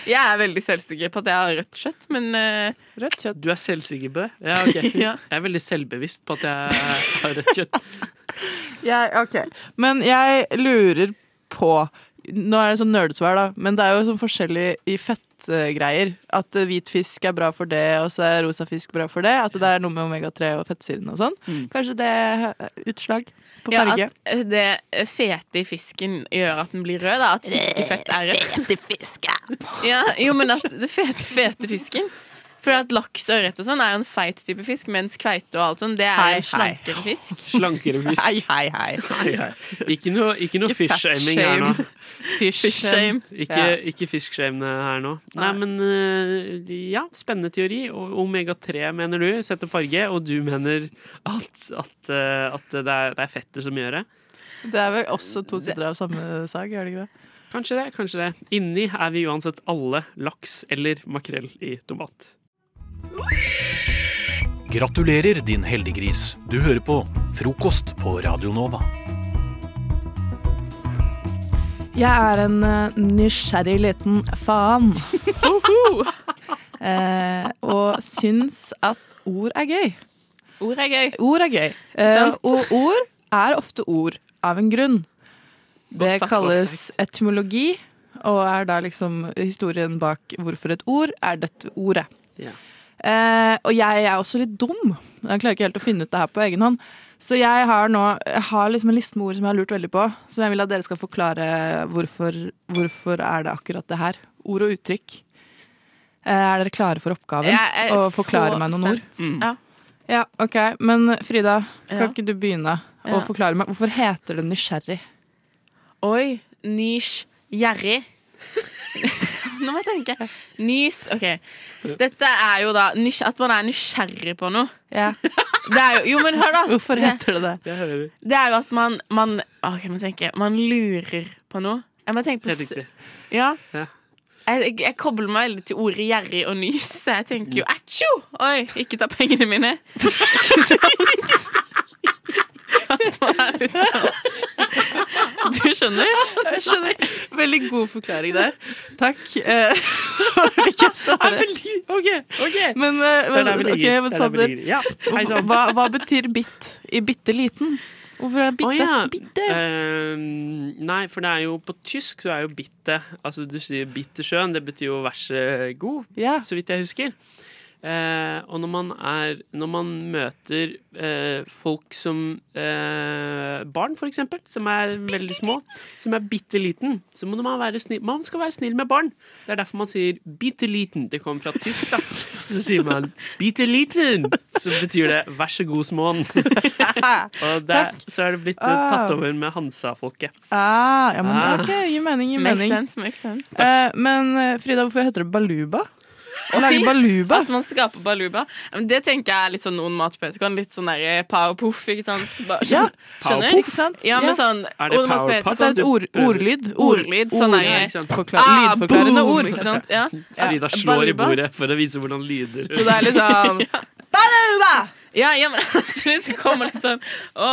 N: jeg er veldig selvsikker på at jeg har rødt kjøtt, men eh,
M: Du er selvsikker på det? Ja, ok.
N: Ja.
M: Jeg er veldig selvbevisst på at jeg har rødt kjøtt.
F: Jeg, ok. Men jeg lurer på Nå er det sånn nerdesvar, da, men det er jo sånn forskjellig i fettgreier. At eh, hvit fisk er bra for det, og så er rosa fisk bra for det. At det er noe med omega-3 og fettsyrene og sånn. Kanskje det er utslag på
N: Mm. ja,
F: farge.
N: at eh, det fete i fisken gjør at den blir rød, da. At fiskefett er rødt. Ja, jo, men at det fete, fete fisken For at laks og ørret og sånn er jo en feit type fisk, mens kveite og alt sånn, det er
M: Hei,
N: en slankere fisk.
M: Slankere fisk.
N: Hei,
F: hei.
M: Hei, hei. Ikke noe, ikke noe
N: Ikke fat
M: fish-shaming her nå.
N: shame. Fish shame.
M: Ikke,
N: Ja.
M: ikke fisk-shame her nå. Nei, men eh, ja, spennende teori. O- Omega-3 mener du setter farge, og du mener at, at, eh, at det, er, det er fettet som gjør det.
F: Det er vel også to sider av samme sag, er det ikke det?
M: Kanskje det, kanskje det. Inni er vi uansett alle laks eller makrell i tomat.
O: Gratulerer, din heldiggris. Du hører på Frokost på Radio Nova.
F: Jeg er en eh, nysgjerrig liten faen. eh, og syns at ord er gøy.
N: Ord er gøy.
F: Ord er gøy. Eh, og ord er ofte ord av en grunn. Det
N: Godt sagt,
F: kalles
N: godt
F: etymologi, og er da liksom historien bak hvorfor et ord er dette ordet.
M: Ja.
F: Eh, og jeg er også litt dum. Jeg klarer ikke helt å finne ut det her på egen hånd. Så jeg har nå jeg har liksom en liste med ord som jeg har lurt veldig på, som jeg vil at dere skal forklare hvorfor, hvorfor er det akkurat det her. Ord og uttrykk. Eh, er dere klare for oppgaven?
N: Jeg er
F: å
N: så
F: forklare meg noen
N: spent.
F: ord?
N: Mm. Ja.
F: Ja, ok. Men Frida, kan
N: Ja.
F: ikke du begynne å
N: Ja.
F: forklare meg hvorfor heter det nysgjerrig?
N: Oi, nysj, gjerrig. Nå må jeg tenke. Nys, OK. Dette er jo da nysj, at man er nysgjerrig på noe. Det er jo, jo, men hør, da.
F: Hvorfor heter det det?
M: Jeg hører det.
N: Det er jo at man, man OK, man tenker Man lurer på noe. Jeg må tenke på
M: Helt riktig.
N: Ja.
M: Ja.
N: Jeg, jeg, jeg kobler meg veldig til ordet gjerrig og nys, så jeg tenker jo atjo! Oi, ikke ta pengene mine. At man er litt sånn Du skjønner?
F: Jeg skjønner. Veldig god forklaring der. Takk. Eh, vil ikke svare.
M: OK.
F: Men,
M: Det
F: eh,
M: er der
F: men,
M: vi ligger. Det
F: ok,
M: er
F: men
M: der vi
F: Sander,
M: ligger. Ja, hei sann.
F: hva, hva betyr bitt i bitte liten? Hvorfor er det bitte?
M: Å, ja.
F: bitte?
M: Eh, nei, for det er jo på tysk så er jo bitte Altså du sier bittersjøen, det betyr jo vær så god,
F: Ja.
M: så vidt jeg husker. Eh, og når man, er, når man møter eh, folk som eh, barn, for eksempel, som er veldig små, som er bitte liten, så må man være snill. Man skal være snill med barn. Det er derfor man sier bitte liten. Det kommer fra tysk, da. Så sier man bitte liten, så betyr det vær så god, småen. og det, så er det blitt eh, tatt over med Hansa-folket.
F: Ah, ja, men
M: Ah.
F: ok, gir mening, gir
N: Makes
F: mening.
N: sense, makes sense.
F: Eh, men eh, Frida, hvorfor heter det baluba? Å lage baluba?
N: At man skaper baluba. Ja, men Det tenker jeg er litt sånn noen matpoetikon. Litt sånn der eh, powerpuff, ikke sant? Bare,
F: Ja,
N: skjønner?
F: powerpuff, sant?
N: Ja, men
F: Ja.
N: sånn
F: Er det
N: noen matpoetikon-
F: powerpuff? Det er et ord- ordlyd. Ah, Ord-
N: Ordlyd, sånn
F: ord,
N: der,
F: ja,
N: eh,
F: ikke sant. Forklar- lydforklarende
N: boom,
F: ord.
N: Ikke sant? Ja.
M: Frida slår i bordet for å vise hvordan lyder
N: Så det er litt sånn Baluba! Ja, ja, men til så kommer litt sånn Å,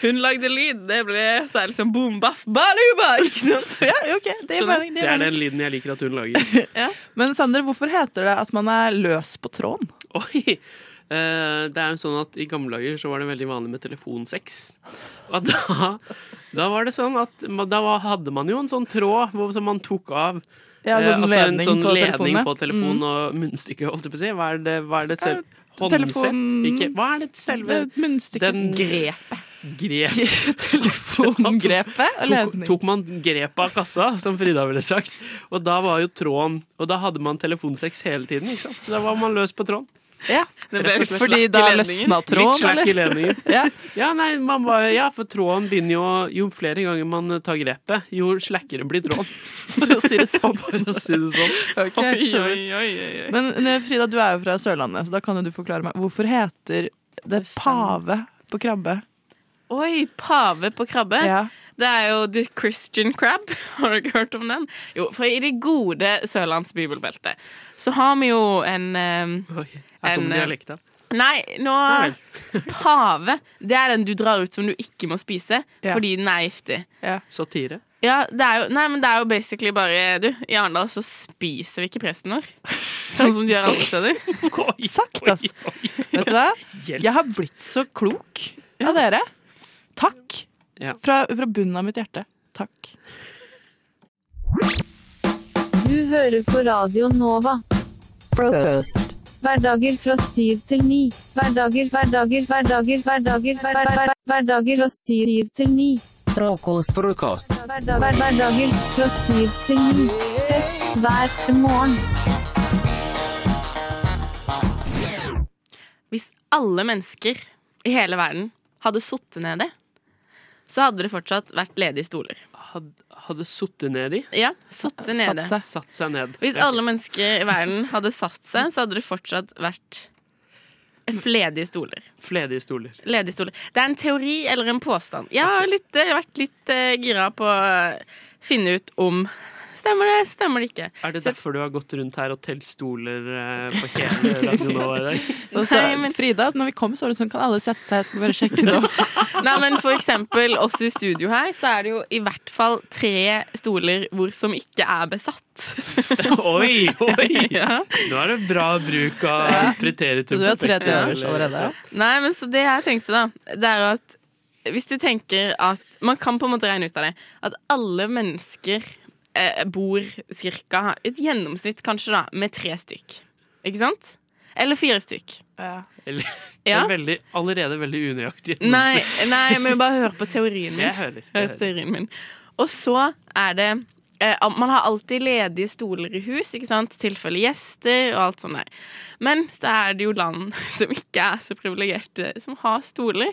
N: hun lagde lyd. Det ble så er det liksom boom, baff, baluba! Ikke sant?
F: Ja, ok, det gir
M: Skjønner?
F: mening.
M: Det
F: gir
M: er
F: mening.
M: den lyden jeg liker at hun lager.
F: Men Sander, hvorfor heter det at man er løs på tråden?
M: Oi! Eh, det er jo sånn at I gamle dager så var det veldig vanlig med telefonsex. Og da, da var det sånn at man- da var, hadde man jo en sånn tråd hvor, som man tok av.
F: Ja, sånn
M: Eh, altså en
F: ledning
M: sånn
F: på
M: ledning
F: telefonen, ja.
M: på telefonen
F: Mm. Eh,
M: og munnstykke, holdt jeg på å si. Hva er det, hva er det selv? Håndsett?
F: Telefon-
M: Ikke, hva er det selve
F: Munnstykket.
M: Den-
N: Grepet.
M: grep?
F: Telefongrepet og
M: Tok,
F: ledning.
M: tok man grep av kassa, som Frida ville sagt. Og da var jo tråden Og da hadde man telefonsex hele tiden, ikke sant? Så da var man løs på tråden.
F: Ja,
M: Det
F: ble litt Fordi slakk i da ledningen. løsna
M: Litt
F: tråden,
M: slakk i
F: eller?
M: ledningen.
F: ja.
M: nei, man bare, ja, for tråden begynner jo Jo flere ganger man tar grepet, jo slakkere blir tråden.
F: For å si det sånn.
M: For å si det sånn.
F: Ok, jeg skjønner. Men eh, Frida, du er jo fra Sørlandet, så da kan jo du forklare meg. Hvorfor heter det pave på krabbe?
N: Oi, pave på
M: Eh,
N: krabbe.
F: Ja.
N: Det er jo The Christian Crab. Har du ikke hørt om den? Jo, for i det gode sørlandsbibelbeltet så har vi jo en eh,
M: Her
N: en,
M: kommer
N: eh,
M: dialekta.
N: Nei, nå
M: Nei
N: Pave, det er den du drar ut som du ikke må spise
M: Ja.
N: fordi den er giftig.
M: Satire.
N: Ja, det er jo, nei, men det er jo basically bare Du, i Arendal så spiser vi ikke presten vår. Sånn som de gjør andre steder.
F: Sagt, ass. Vet du hva?
M: Hjelp.
F: Jeg har blitt så klok av dere. Takk.
M: Ja.
F: Fra, fra bunnen av mitt hjerte. Takk.
A: Du hører på Radio Nova. Frokost. Hverdager fra syv til ni. Hverdager, hverdager, hverdager, hverdager, hver- hver- hver- hverdager fra syv til ni.
B: Frokost, frokost.
A: Hverdag- hver- Hverdager fra syv til ni. Fest hver morgen.
N: Hvis alle mennesker i hele verden hadde sittet nede, så hadde det fortsatt vært ledige stoler.
M: Hadde sittet nedi.
N: Ja, sittet nede.
M: Satt seg, satt seg ned.
N: Hvis
M: Ja.
N: alle mennesker i verden hadde satt seg, så hadde det fortsatt vært ledige stoler.
M: Fledige stoler.
N: Ledige stoler. Det er en teori eller en påstand. Jeg har litt, eh, vært litt eh, gira på å finne ut om Stemmer det, stemmer det ikke?
M: Er det derfor du har gått rundt her og telt stoler eh, på hele radionova i dag?
F: Og så, Frida, når vi kommer, så var det sånn, kan alle sette seg. Jeg skal bare sjekke nå.
N: Nei, men for eksempel oss i studio her, så er det jo i hvert fall tre stoler hvor som ikke er besatt.
M: Oi, oi! Nå er det bra bruk av preteritum.
N: Så du har tre
M: perfekt,
N: timers
M: eller-
N: allerede? Nei, men så det jeg tenkte da, det er at hvis du tenker at Man kan på en måte regne ut av det. At alle mennesker eh, bor cirka et gjennomsnitt kanskje da, med tre stykk. Ikke sant? Eller fire stykk.
M: Eller, det
N: Ja.
M: er veldig, allerede veldig unøyaktig.
N: Nei, nei, men bare hør på teorien min.
M: Jeg hører, jeg
N: Hør
M: hører.
N: på teorien min. Og så er det eh, Man har alltid ledige stoler i hus, ikke sant? tilfelle gjester og alt sånt der. Men så er det jo land som ikke er så privilegerte, som har stoler.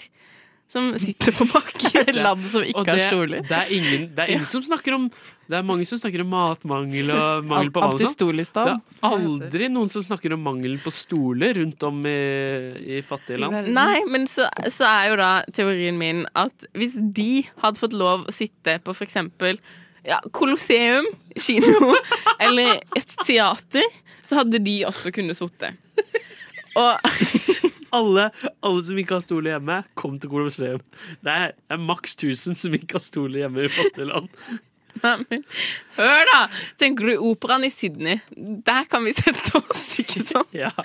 N: Som sitter på bakken.
F: land som ikke
M: Og
F: har
M: det-
F: stoler.
M: Det er ingen, det er ingen som snakker om Det er mange som snakker om matmangel og mangel på vann. og sånt.
F: Antistolistan,
M: Det er aldri noen som snakker om mangelen på stoler rundt om i, i fattige land.
N: Nei, men så, så er jo da teorien min at hvis de hadde fått lov å sitte på for eksempel ja, Colosseum, kino eller et teater, så hadde de også kunnet sitte.
M: Alle, alle som ikke har stoler hjemme, kom til Colosseum. Det er, det er maks 1000 som ikke har stoler hjemme i fattige land.
N: Nei, men Hør, da! Tenker du operaen i Sydney? Der kan vi sette oss, ikke sant?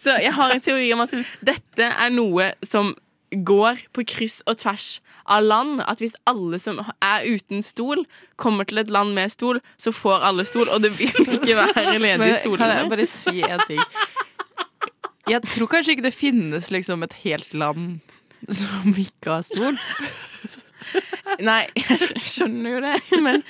N: Så jeg har en teori om at dette er noe som går på kryss og tvers av land. At hvis alle som er uten stol, kommer til et land med stol, så får alle stol, og det vil ikke være ledige
F: Men
N: stoler.
F: Kan jeg bare si en ting? Jeg tror kanskje ikke det finnes liksom et helt land som ikke har stol.
N: Nei, jeg skj- skjønner jo det, men,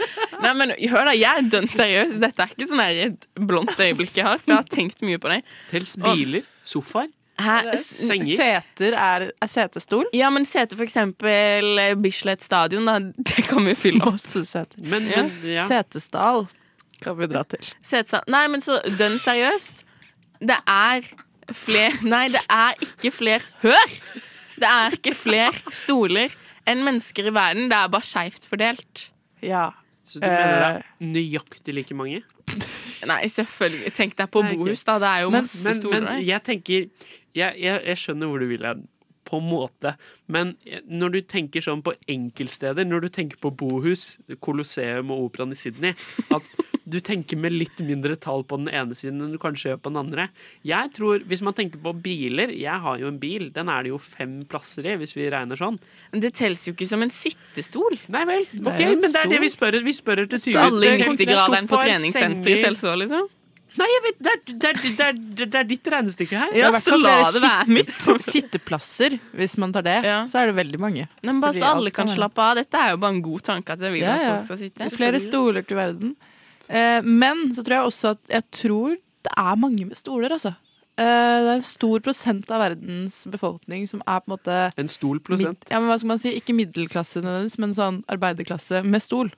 N: nei, men hør da, jeg er dønn seriøs. Dette er ikke sånn her et blondt øyeblikk jeg har, for jeg har tenkt mye på det.
M: Tels biler, sofaer,
N: Hæ?
M: senger.
N: Seter er, setestol? Ja, men sete for eksempel eh, Bislett stadion, da. Det kan vi fylle opp.
M: Men, men, ja.
F: Setesdal kan vi dra til.
N: Setesa. Nei, men så dønn seriøst. Det er fler Nei, det er ikke fler Hør! Det er ikke fler stoler enn mennesker i verden. Det er bare skeivt fordelt.
F: Ja.
M: Så du mener det er nøyaktig like mange?
N: Nei, selvfølgelig. Tenk deg på
M: Nei, ok.
N: bohus, da. Det er jo masse
M: men,
N: stoler.
M: Men
N: der.
M: jeg tenker jeg, jeg, jeg skjønner hvor du vil hen, på en måte. Men eh, når du tenker sånn på enkeltsteder, når du tenker på bohus, Colosseum og Operaen i Sydney, at du tenker med litt mindre tall på den ene siden enn du kanskje gjør på den andre. Jeg tror, Hvis man tenker på biler Jeg har jo en bil. Den er det jo fem plasser i, hvis vi regner sånn.
N: Det telles jo ikke som en sittestol.
M: Nei vel.
N: Det er
M: Ok,
N: jo en
M: men det er det
N: stol.
M: vi spør Vi spør etter
N: Så alle inntektigraderen på treningssenteret telles òg, liksom?
M: Nei, jeg vet, det er, det, er, det, er, det er ditt regnestykke her.
F: Det er i hvert fall flere sitte- Sitteplasser, hvis man tar det, så er det veldig mange.
N: Nei, men bare
F: Fordi
N: så alle
F: alt
N: kan
F: være-
N: slappe av. Dette er jo bare en god tanke. at jeg vil
F: Ja,
N: at
F: ja.
N: folk skal sitte.
F: Flere stoler til verden. Eh, men så tror jeg også at jeg tror det er mange med stoler, altså. Eh, det er en stor prosent av verdens befolkning som er på en måte
M: En stol prosent.
F: Mid, ja, men hva skal man si? Ikke middelklasse, nødvendigvis, men sånn arbeiderklasse med stol.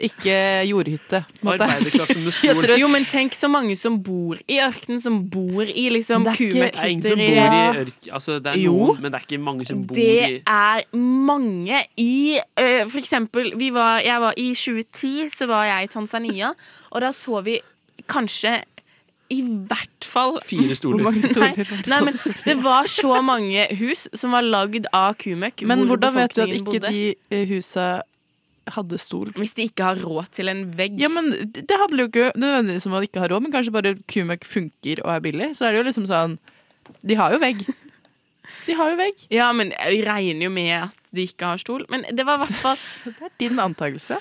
F: Ikke jordhytte. på en måte.
M: Arbeiderklassen med
N: Jeg
M: stol.
N: tror- Jo, men tenk så mange som bor i ørkenen, som bor i liksom
M: Det er ikke- Det er ingen som bor i
N: kumekkhytter.
M: ørk... Altså, det er
N: Jo.
M: noen, men det er ikke mange som bor i
N: Det er mange i ø, For eksempel, vi var, jeg var i 2010, så var jeg i Tanzania, og da så vi kanskje i hvert fall
M: Fire stoler. Hvor mange stoler var det?
N: Nei, nei, men det var så mange hus som var lagd av kumøkk.
F: Men
N: hvor
F: hvordan vet du at
N: befolkningen
F: ikke
N: bodde.
F: de eh, husa hadde stol?
N: Hvis de ikke har råd til en vegg.
F: Ja, men Det det handler jo ikke nødvendigvis om at de ikke har råd, men kanskje bare kumøkk funker og er billig. Så er det jo liksom sånn De har jo vegg. De har jo vegg.
N: Ja, men jeg regner jo med at de ikke har stol. Men det var i hvert fall
F: Det er din antakelse.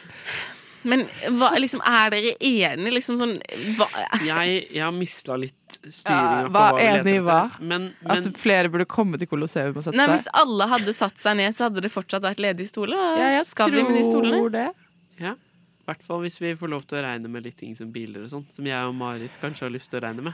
N: Men hva, liksom, er dere enige? Liksom sånn hva,
M: Jeg, jeg har mista litt
F: Ja,
M: styringa på
F: hva
M: vi leter
F: enig i
M: etter.
F: hva?
M: Men,
F: At
M: men
F: flere burde komme til Colosseum og sette
N: Nei, Hvis
F: seg.
N: alle hadde satt seg ned, så hadde det fortsatt vært ledige stoler. og
F: Ja, jeg
N: skal vi med de
F: tror
N: stolene?
F: det.
M: ja, i hvert fall hvis vi får lov til å regne med litt ting som biler og sånn, som jeg og Marit kanskje har lyst til å regne med.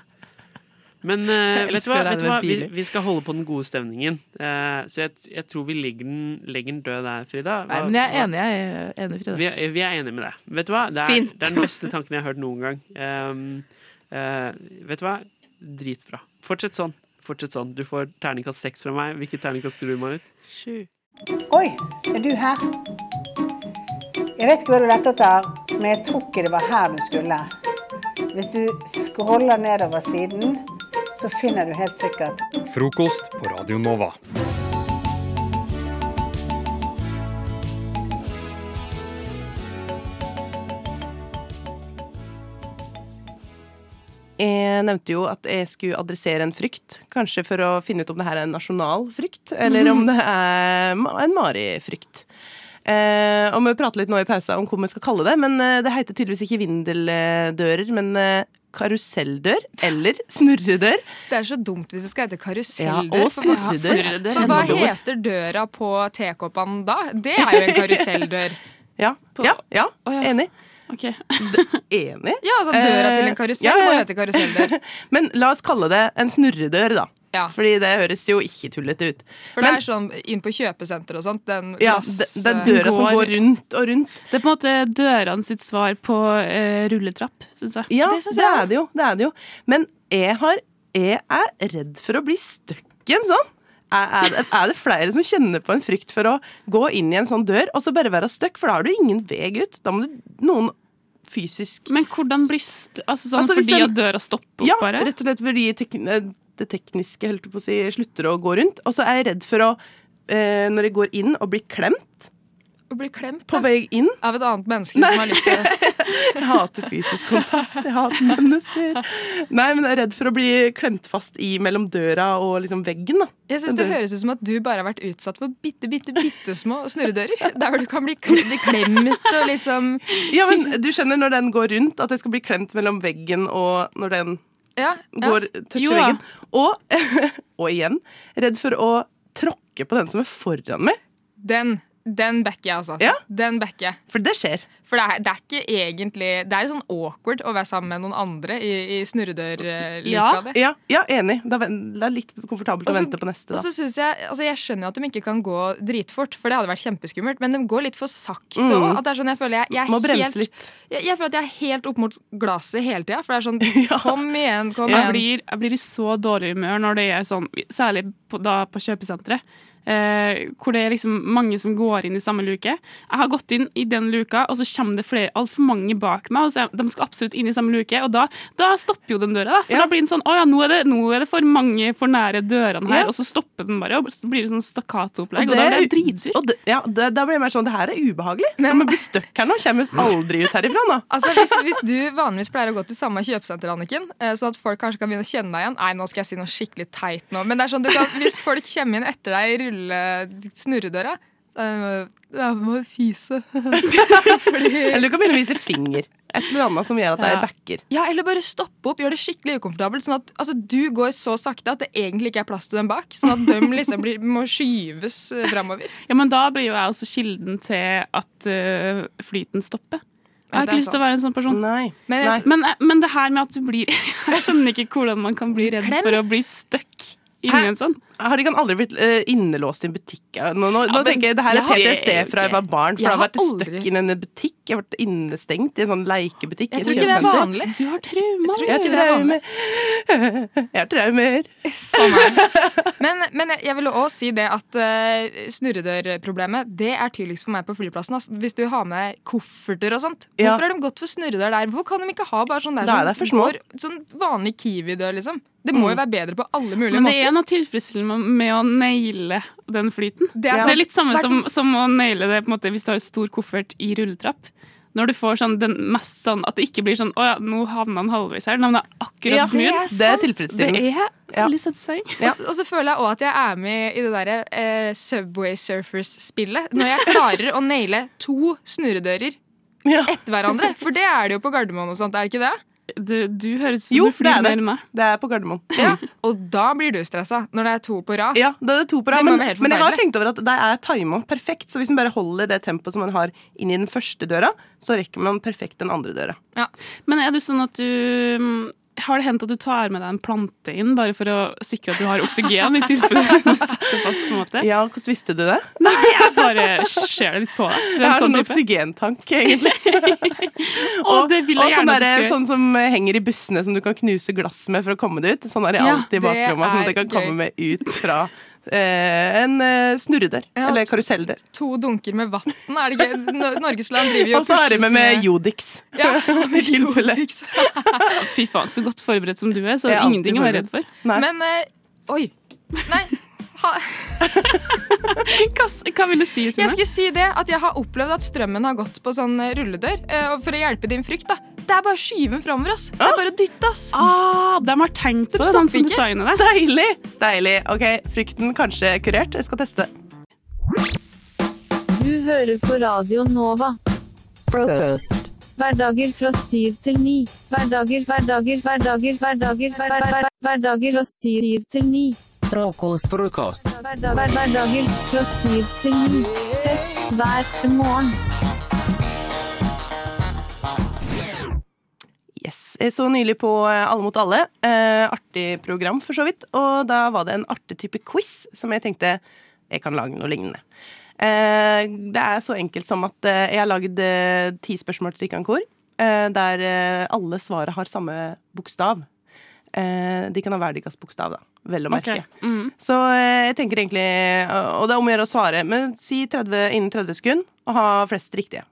M: Men eh,
N: Jeg
M: vet du
N: elsker
M: hva,
N: å regne
M: vet du hva?
N: med
M: Vi,
N: biler.
M: vi skal holde på den gode stemningen. Eh, så jeg, jeg tror vi legger den, legger den død der, Frida. Hva-
F: Nei, men jeg
M: hva-
F: er enig, jeg er enig Frida.
M: Vi er, vi er enige med deg. Vet du hva? Det er,
F: Fint.
M: det er den beste tanken jeg har hørt noen gang. Ehm, eh, vet du hva? Dritbra. Fortsett sånn. Fortsett sånn. Du får terningkast seks fra meg. Hvilket terningkast tror du, Marit?
P: Oi, er du her? Jeg vet ikke hva du lette etter, men jeg tror ikke det var her du skulle. Hvis du scroller nedover siden, så finner du helt sikkert
L: Frokost på Radio Nova.
Q: Jeg Eh, nevnte jo at jeg skulle adressere en frykt, kanskje for å finne ut om det her er en nasjonal frykt, eller om det er ma- en marifrykt. Eh, og vi prater litt nå i pausa om hva vi skal kalle det, men eh, det heter tydeligvis ikke vindeldører, men eh, karuselldør eller snurredør.
R: Det er så dumt hvis det skal hete
Q: Ja,
R: karuselldør.
Q: og
R: for hva-
Q: snurredør.
R: Ja,
Q: Snurredør.
R: For hva
Q: Kjenneord.
R: heter døra på tekoppene da? Det er jo en karuselldør.
Q: Ja, ja, ja enig. D- enig.
R: Ja, altså døra til en
S: Eh,
R: karusell må hete
Q: karusselldør. men la oss kalle det en snurredør, da.
R: Ja.
Q: Fordi det høres jo ikke tullete ut.
R: For det er sånn inn på kjøpesenter og sånt. Den
Q: Ja,
R: glass...
Q: det- det er døra som går rundt og rundt.
S: Det er på en måte dørene sitt svar på eh, rulletrapp, syns jeg.
Q: Ja, det, er det jo. Det er det jo. Men jeg, har, jeg er redd for å bli støkken sånn. Er, er, det, er det flere som kjenner på en frykt for å gå inn i en sånn dør og så bare være støkk? For da har du ingen vei ut. Da må du noen fysisk
S: Men hvordan blir st altså, sånn
Q: Altså, hvis
S: Fordi
Q: den-
S: at døra stopper opp
Q: Ja,
S: bare?
Q: rett og slett fordi tekn- eh, det tekniske holdt jeg på å si, slutter å gå rundt. Og så er jeg redd for å, eh, når jeg går inn, å bli klemt.
R: Å bli klemt
Q: På vei inn.
R: Av et annet menneske som har lyst til
Q: Jeg hater fysisk kontakt. Jeg hater mennesker. Nei, men jeg er redd for å bli klemt fast i mellom døra og liksom veggen. da.
R: Jeg synes Det
Q: Dø-
R: høres ut som at du bare har vært utsatt for bitte, bitte, bitte små snurredører. Der hvor du kan bli kl- klemt og liksom
Q: Ja, men du skjønner når den går rundt, at jeg skal bli klemt mellom veggen og når den Går toucher
T: Jo da.
Q: veggen. Og, og igjen, redd for å tråkke på den som er foran meg.
U: Den, den backer jeg, altså.
Q: Ja.
U: Den backer jeg.
Q: For det skjer.
U: For det er, det er ikke egentlig Det er litt sånn awkward å være sammen med noen andre i, i snurredørluka di.
Q: ja, ja, enig. Da ven- Det er litt komfortabelt
U: Og så-
Q: å vente på neste,
U: Og
Q: da.
U: så synes Jeg altså jeg skjønner jo at de ikke kan gå dritfort, for det hadde vært kjempeskummelt. Men de går litt for sakte
Q: Mm.
U: òg. Det er sånn jeg føler jeg, jeg er
Q: Må bremse
U: helt,
Q: litt.
U: Jeg, jeg føler at jeg er helt opp mot glasset hele tida. For det er sånn Kom igjen, kom
D: Jeg
U: igjen.
D: blir, jeg blir i så dårlig humør når det er sånn, særlig på, da på kjøpesenteret, eh, hvor det er liksom mange som går inn i samme luke. Jeg har gått inn i den luka, og så kommer det flere, altfor mange bak meg, og så er, de skal absolutt inn i samme luke, og da, da stopper jo den døra, da. For da blir den sånn, å ja, nå er, det, nå er det for mange for nære dørene her,
Q: Ja.
D: og så stopper den bare, og så blir det sånn
Q: Og
D: stakkato-opplegg, og, da blir jeg
Q: det- og det- ja, det- da blir jeg mer sånn Det her er ubehagelig. Skal vi bli stuck her nå? Kommer vi oss aldri ut herifra nå?
U: Altså, hvis, hvis du vanligvis pleier å gå til samme kjøpesenter, Anniken, eh, sånn at folk kanskje kan begynne å kjenne deg igjen Nei, nå skal jeg si noe skikkelig teit nå. Men det er sånn, du kan, hvis folk kommer inn etter deg i rulle snurredøra eh, Ja, vi må fise.
Q: Eller du kan begynne å vise finger. Et eller annet som gjør at jeg
U: Ja.
Q: backer.
U: Ja, eller bare stoppe opp, gjør det skikkelig ukomfortabelt. Sånn at altså, du går så sakte at det egentlig ikke er plass til dem bak. Sånn at de liksom blir, må skyves eh, framover.
D: Ja, men da blir jo jeg også kilden til at eh, flyten stopper. Jeg
U: Ja,
D: har
U: det er
D: ikke lyst til å
U: sant.
D: være en sånn person.
Q: Nei.
D: Men, jeg- men, eh, men det her med at du blir Jeg skjønner ikke hvordan man kan bli redd for å bli stuck inni en sånn.
Q: Har ikke han aldri blitt eh, innelåst i en butikk? Ja, Nå, nå, nå
D: men
Q: tenker jeg, Det her er
D: jeg har-
Q: PTSD fra jeg var barn. For
D: Jeg
Q: jeg har
D: har
Q: vært stuck i en butikk. Jeg har vært innestengt i en sånn leikebutikk. i et kjøpesenter.
D: Du har traumer.
Q: Jeg har traumer. Jeg har traumer.
U: Men, men jeg- jeg ville òg si det at eh, snurredørproblemet det er tydeligst for meg på flyplassen. ass. Hvis du har med deg kofferter og sånt.
Q: Ja.
U: Hvorfor har de gått for snurredør der? Hvorfor kan de ikke ha bare sånn der
Q: Da er
U: som
Q: det for små. Mm.
U: går- sånn vanlig Kiwi-dør, liksom? Det må jo være bedre på alle mulige
D: Men det
U: måter.
D: er noe tilfredsstillende med å naile den flyten.
U: Det er
D: Så det
U: sant.
D: er litt samme
U: Hvert-
D: som, som å naile det på en måte, hvis du har en stor koffert i rulletrapp. Når du får sånn, den mest sånn at det ikke blir sånn Å ja, nå havna han halvveis her. Nå havna han akkurat
U: Ja, det
D: smooth.
U: er sant. Det er tilfredsstillende.
D: Det er sånn veldig satisfying.
U: Og så- Og så føler jeg òg at jeg er med i det derre eh, Subway Surfers-spillet. Når jeg klarer å naile to snurredører etter hverandre. For det er det jo på Gardermoen og sånt, er det ikke det?
D: Du, høres
Q: Jo, det er det. Det er på Gardermoen.
U: Ja, og da blir du stressa, når det er to på rad.
Q: Ja, det er to på rad,
U: Det må
Q: men,
U: være helt
Q: men jeg har
U: forferdelig.
Q: tenkt over at der er timet perfekt. Så hvis man bare holder det tempoet som man har inn i den første døra, så rekker man perfekt den andre døra.
D: Men er du sånn at du mm, Har det hendt at du tar med deg en plante inn bare for å sikre at du har oksygen? i tilfelle du sitter fast på en måte?
Q: Ja, hvordan visste du det?
D: Nei, jeg bare ser det litt på deg. Du
Q: Jeg
D: er
Q: har
D: en sånn
Q: en
D: type.
Q: oksygentank, egentlig.
D: Og det vil
Q: Og
D: jeg
Q: sånn,
D: gjerne at du
Q: derre-
D: skal
Q: sånn som eh, henger i bussene som du kan knuse glass med for å komme deg ut. Sånn er det
D: Ja,
Q: alltid i
D: det
Q: baklomma, sånn at jeg
U: er
Q: kan komme meg ut fra eh, en eh, snurredør.
U: Ja,
Q: eller
U: to-
Q: karuselldør.
U: To dunker med vann, er det ikke? Nor- Norgesland driver jo
Q: Og så har jeg
U: pusles
Q: med med Jodix.
U: Ja,
Q: I tilfelle.
D: Fy faen, så godt forberedt som du er, så det
U: Jeg er
D: er
U: alltid
D: ingenting å være redd for.
U: Men eh, oi. Nei. Ha,
D: hva, hva vil du si, Sine?
U: jeg skulle si det at jeg har opplevd at strømmen har gått på sånn eh, rulledør. eh, og For å hjelpe din frykt, da. Det er bare å skyve den framover, ass. Det er bare å dytte, ass.
D: Ah, de har tenkt
U: på det, de som designet det.
Q: Deilig! Deilig. Ok, frykten kanskje er kurert. Jeg skal teste.
A: Du hører på Radio Nova. Frokost. Hverdager fra syv til ni. Hverdager, hverdager, hverdager, hverdager, hver- hver- hver- hverdager fra syv til ni.
H: Frokost, frokost.
A: Hver- hver- Hverdager fra syv til ni. Fest hver morgen.
Q: Yes. Jeg så nylig på eh, Alle mot alle. Eh, artig program, for så vidt. Og da var det en artig type quiz som jeg tenkte jeg kan lage noe lignende. Eh, det er så enkelt som at eh, jeg har lagd eh, ti spørsmål til Rikkan Kor, eh, der eh, alle svaret har samme bokstav. Eh, de kan ha hver deres bokstav, da. Vel å merke. Så eh, jeg tenker egentlig Og det er om å gjøre å svare, men si 30, innen 30 sekunder og ha flest riktige.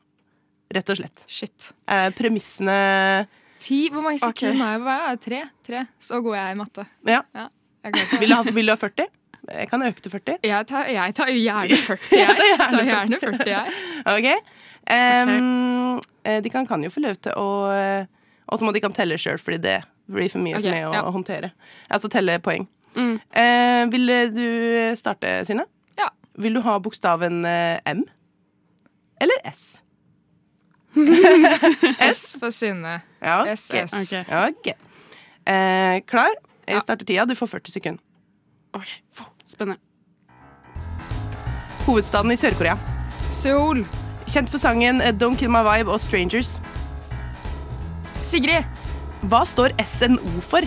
Q: Rett og slett.
U: Shit.
Q: Eh, premissene
U: Ti, hvor mange
Q: Ok.
U: sekunder har jeg? Hva er det? Tre? Tre. Så god jeg er i matte.
Q: Ja.
U: Ja, jeg går på det.
Q: Vil du ha, vil du ha 40? Jeg kan øke til 40.
U: Jeg tar, jeg tar jo gjerne 40, jeg. tar gjerne 40, jeg.
Q: Ok. Ehm, eh, De kan, kan jo få lov til å eh, Og så må de kan telle sjøl, fordi det blir for mye
U: Ok,
Q: for meg å
U: ja. Mm.
Q: håndtere. Altså telle poeng. Eh, vil du starte, Synne?
U: Ja.
Q: Vil du ha bokstaven eh, M? Eller S?
U: S for Synne.
Q: Ja, ok.
U: S, S.
Q: Ok. Eh, klar? Jeg starter tida. Du får 40 sekunder.
S: Spennende.
Q: Hovedstaden i Sør-Korea.
R: Seoul.
Q: Kjent for sangen eh, Don't Kill My Vibe og Strangers.
R: Sigrid.
Q: Hva står SNO for?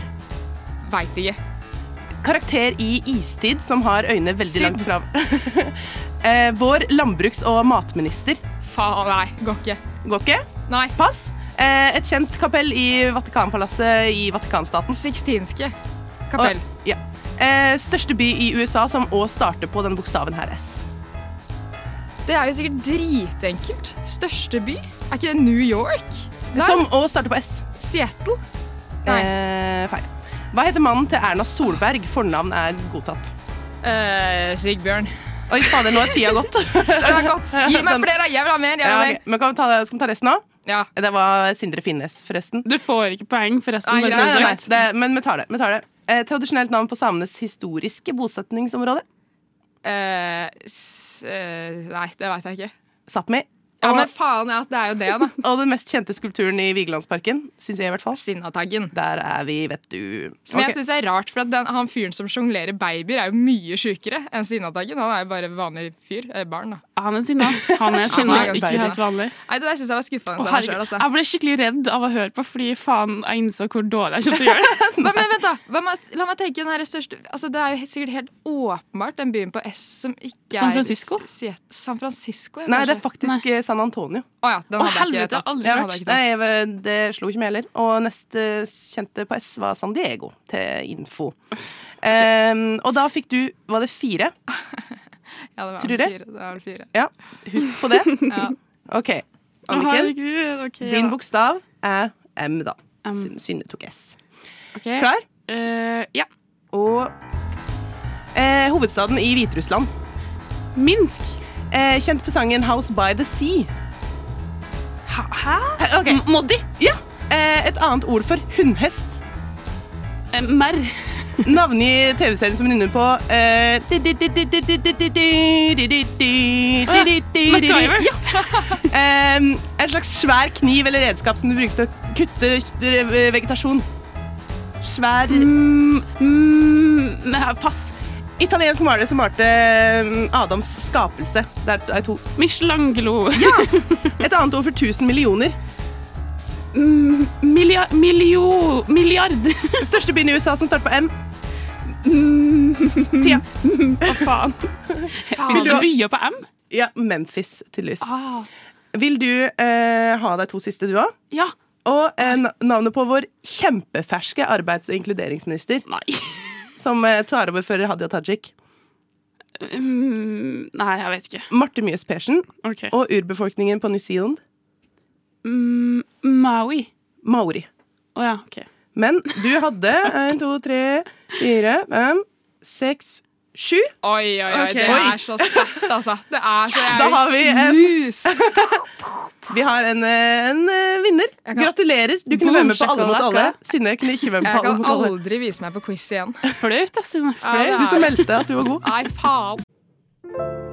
R: Veit ikke.
Q: Karakter i Istid som har øynene veldig langt fra Eh, Vår landbruks- og matminister.
R: Faen, nei. Går ikke.
Q: Går ikke?
R: Nei.
Q: Pass. Eh, et kjent kapell i Vatikanpalasset i Vatikanstaten.
R: Sikstinske kapell.
Q: Og, ja. eh, største by i USA som òg starter på denne bokstaven her, S.
R: Det er jo sikkert dritenkelt. Største by? Er ikke det New York?
Q: Som òg starter på S.
R: Seattle? Nei.
Q: Eh, feil. Hva heter mannen til Erna Solberg? Fornavn er godtatt.
R: Eh, Sigbjørn.
Q: Oi, fader, nå er tida gått.
R: Den er godt. Gi meg flere. Jeg vil ha mer. Jeg vil
Q: Ja,
R: ha
Q: ok.
R: mer.
Q: Men kan vi ta, det- skal vi ta resten nå?
R: Ja.
Q: Det var Sindre Finnes, forresten.
S: Du får ikke poeng, forresten.
Q: Nei,
S: bare så
Q: nei, nei,
S: det er
Q: nei,
S: sagt.
Q: det, men vi tar det. Vi tar det. Eh, tradisjonelt navn på samenes historiske bosetningsområde?
R: Eh, s eh, nei, det veit jeg ikke.
Q: Sápmi.
R: Ja,
Q: Og-
R: men faen, ja, det er jo det, da.
Q: Og den mest kjente skulpturen i Vigelandsparken, syns jeg i hvert fall.
R: Sinnataggen.
Q: Der er vi, vet du.
R: Som
Q: Ok.
R: jeg syns er rart, for at den, han fyren som sjonglerer babyer, er jo mye sjukere enn Sinnataggen. Han er jo bare vanlig fyr. Eh, barn, da.
S: Han er sinna. Han er sinna, ikke helt vanlig.
R: Nei, det der syns jeg var skuffende
S: Å,
R: av meg
S: herregud.
R: sjøl, altså.
S: Jeg ble skikkelig redd av å høre på, fordi faen, jeg innså hvor dårlig jeg kom til å gjøre det.
R: Hva, men vent da, hva med, at- La meg tenke den her største altså Det er jo helt, sikkert helt åpenbart den byen på S som ikke
S: San
R: er
S: Francisco?
R: Se- San Francisco, ja,
Q: Nei, det er
R: kanskje.
Q: faktisk eh, San Antonio.
R: Å ja, den
Q: Å,
R: hadde jeg
Q: helvete,
R: ikke tatt.
Q: aldri
R: Den
Q: vært.
R: hadde jeg ikke
Q: Nei,
R: tatt.
Q: jeg, var- det slo ikke meg heller. Og neste kjente på S var San Diego, til info. Ehm, og da fikk du Var det fire?
R: Ja, det var
Q: Tror
R: vel
Q: jeg.
R: fire, det var vel fire.
Q: Ja, husk på det.
R: Ja.
Q: OK.
R: Å,
Q: Anniken,
R: herregud, ok, ja.
Q: din bokstav er M, da.
S: Um, Mm.
Q: Siden Synne tok S. Klar?
S: ja.
Q: Og eh, hovedstaden i Hviterussland.
S: Minsk.
Q: Eh, kjent for sangen House by the Sea.
S: Hæ?
Q: Moddi? Ja. Eh, et annet ord for hundhest.
S: merr.
Q: Navngi TV-serien som hun nynner på eh,
G: MacGyver.
Q: Ja. Eh, En slags svær kniv eller redskap som du brukte å kutte eh, vegetasjon. Svær
S: Mm. eh, Pass.
Q: Italiensk maler som malte eh, Adams skapelse. Det er- er to.
S: Michelangelo.
Q: Ja. Et annet ord for 1000 millioner.
S: Milliard, Mm, milliard.
Q: Største byen i USA som starter på M. Tida.
S: Hva faen?
Q: Hvis du har-
S: byer på M?
Q: Ja, Memphis, tydeligvis.
S: Ah.
Q: Vil du eh, ha de to siste, du òg?
S: Ja.
Q: Og eh, na- navnet på vår kjempeferske arbeids- og inkluderingsminister. Som eh, tar over for Hadia Tajik.
S: Mm, nei, jeg vet ikke.
Q: Marte Mjøs Persen.
S: Ok.
Q: Og urbefolkningen på New Zealand.
S: Mm, Maui.
Q: Maori.
S: Å ja, OK.
Q: Men du hadde en, to, tre, fire, fem, seks, sju.
R: Oi, oi, oi,
Q: Ok.
R: det
Q: Oi.
R: er så sterkt, altså. Det er så
Q: Da har vi en Vi har en, eh, en eh, vinner. Gratulerer. Du kunne være med på Alle mot alle. Synne kunne ikke være med
R: Jeg
Q: på Alle
R: kan
Q: mot alle.
R: aldri vise meg på quiz igjen.
S: Flaut, da, Synne.
R: Flaut.
Q: Du som meldte at du var god.
R: Nei, faen.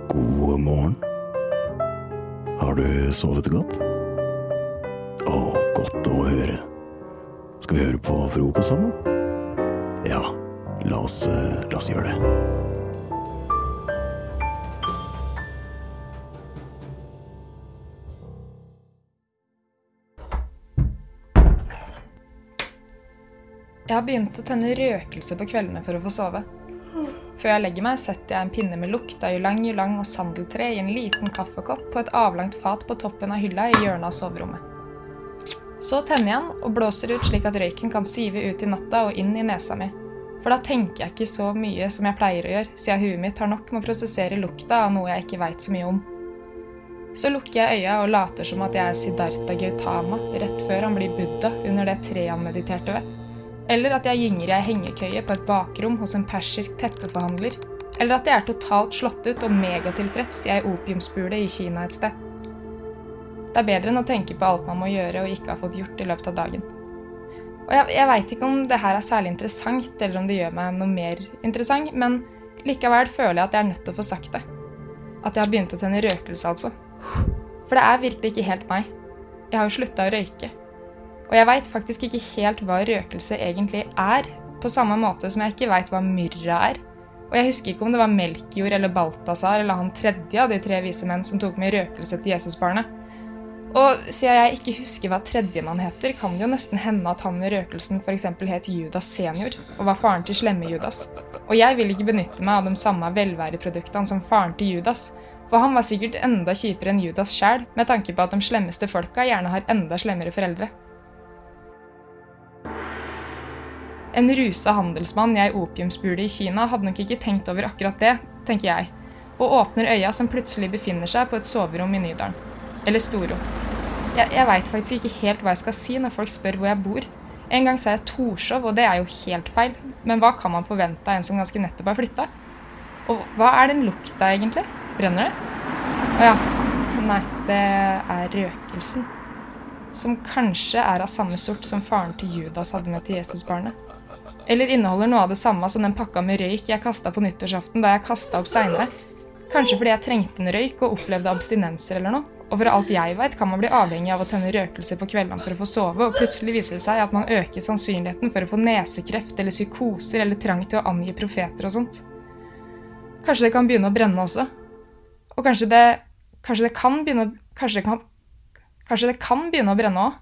H: God morgen. Har du sovet godt? Å, godt å høre. Skal vi høre på frokost sammen? Ja, la oss, eh, la oss gjøre det.
U: Jeg har begynt å tenne røkelse på kveldene for å få sove. Før jeg legger meg, setter jeg en pinne med lukt av ylang ylang og sandeltre i en liten kaffekopp på et avlangt fat på toppen av hylla i hjørnet av soverommet. Så tenner jeg den og blåser ut slik at røyken kan sive ut i natta og inn i nesa mi. For da tenker jeg ikke så mye som jeg pleier å gjøre, siden huet mitt har nok med å prosessere lukta av noe jeg ikke veit så mye om. Så lukker jeg øya og later som at jeg er Siddhartha Gautama rett før han blir Buddha under det treet han mediterte ved. Eller at jeg gynger i ei hengekøye på et bakrom hos en persisk teppeforhandler. Eller at jeg er totalt slått ut og megatilfreds i ei opiumsbule i Kina et sted. Det er bedre enn å tenke på alt man må gjøre og ikke har fått gjort i løpet av dagen. Og jeg, jeg veit ikke om det her er særlig interessant, eller om det gjør meg noe mer interessant, men likevel føler jeg at jeg er nødt til å få sagt det. At jeg har begynt å tenne røkelse, altså. For det er virkelig ikke helt meg. Jeg har jo slutta å røyke. Og jeg veit faktisk ikke helt hva røkelse egentlig er, på samme måte som jeg ikke veit hva myrra er. Og jeg husker ikke om det var Melkjord eller Balthazar eller han tredje av de tre vise menn som tok med røkelse til Jesusbarnet. Og siden jeg ikke husker hva tredjemann heter, kan det jo nesten hende at han med røkelsen f.eks. het Judas senior og var faren til slemme Judas. Og jeg vil ikke benytte meg av de samme velværeproduktene som faren til Judas, for han var sikkert enda kjipere enn Judas sjæl, med tanke på at de slemmeste folka gjerne har enda slemmere foreldre. En rusa handelsmann jeg opiumsbule i Kina hadde nok ikke tenkt over akkurat det, tenker jeg, og åpner øya som plutselig befinner seg på et soverom i Nydalen. Eller Storo. Jeg, jeg veit faktisk ikke helt hva jeg skal si når folk spør hvor jeg bor. En gang sa jeg Torshov, og det er jo helt feil, men hva kan man forvente av en som ganske nettopp har flytta? Og hva er den lukta, egentlig? Brenner det? Å ja. Nei, det er røkelsen. Som kanskje er av samme sort som faren til Judas hadde med til Jesusbarnet. Eller inneholder noe av det samme som den pakka med røyk jeg kasta på nyttårsaften da jeg kasta opp seinere. Kanskje fordi jeg trengte en røyk og opplevde abstinenser eller noe. Og for alt jeg veit, kan man bli avhengig av å tenne røkelse på kveldene for å få sove, og plutselig viser det seg at man øker sannsynligheten for å få nesekreft eller psykoser eller trang til å angi profeter og sånt. Kanskje det kan begynne å brenne også. Og kanskje det Kanskje det kan begynne å Kanskje det kan Kanskje det kan begynne å brenne òg.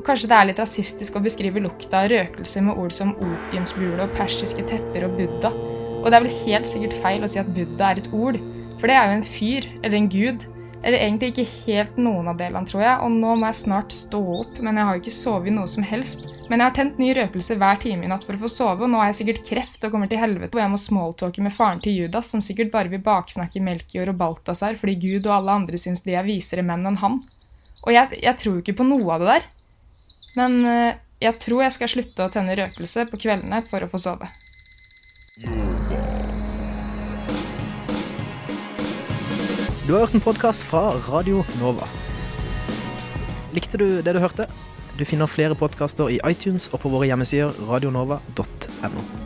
U: Og kanskje det er litt rasistisk å beskrive lukta av røkelse med ord som opiumsbule og persiske tepper og Buddha. Og det er vel helt sikkert feil å si at Buddha er et ord, for det er jo en fyr, eller en gud. Eller egentlig ikke helt noen av delene, tror jeg, og nå må jeg snart stå opp, men jeg har jo ikke sovet noe som helst. Men jeg har tent ny røkelse hver time i natt for å få sove, og nå har jeg sikkert kreft og kommer til helvete, og jeg må smalltalke med faren til Judas, som sikkert bare vil baksnakke Melkjord og Balthazar fordi Gud og alle andre syns de er visere menn enn han. Og jeg, jeg tror jo ikke på noe av det der. Men eh, jeg tror jeg skal slutte å tenne røkelse på kveldene for å få sove.
V: Du har hørt en podkast fra Radio Nova. Likte du det du hørte? Du finner flere podkaster i iTunes og på våre hjemmesider radionova.no.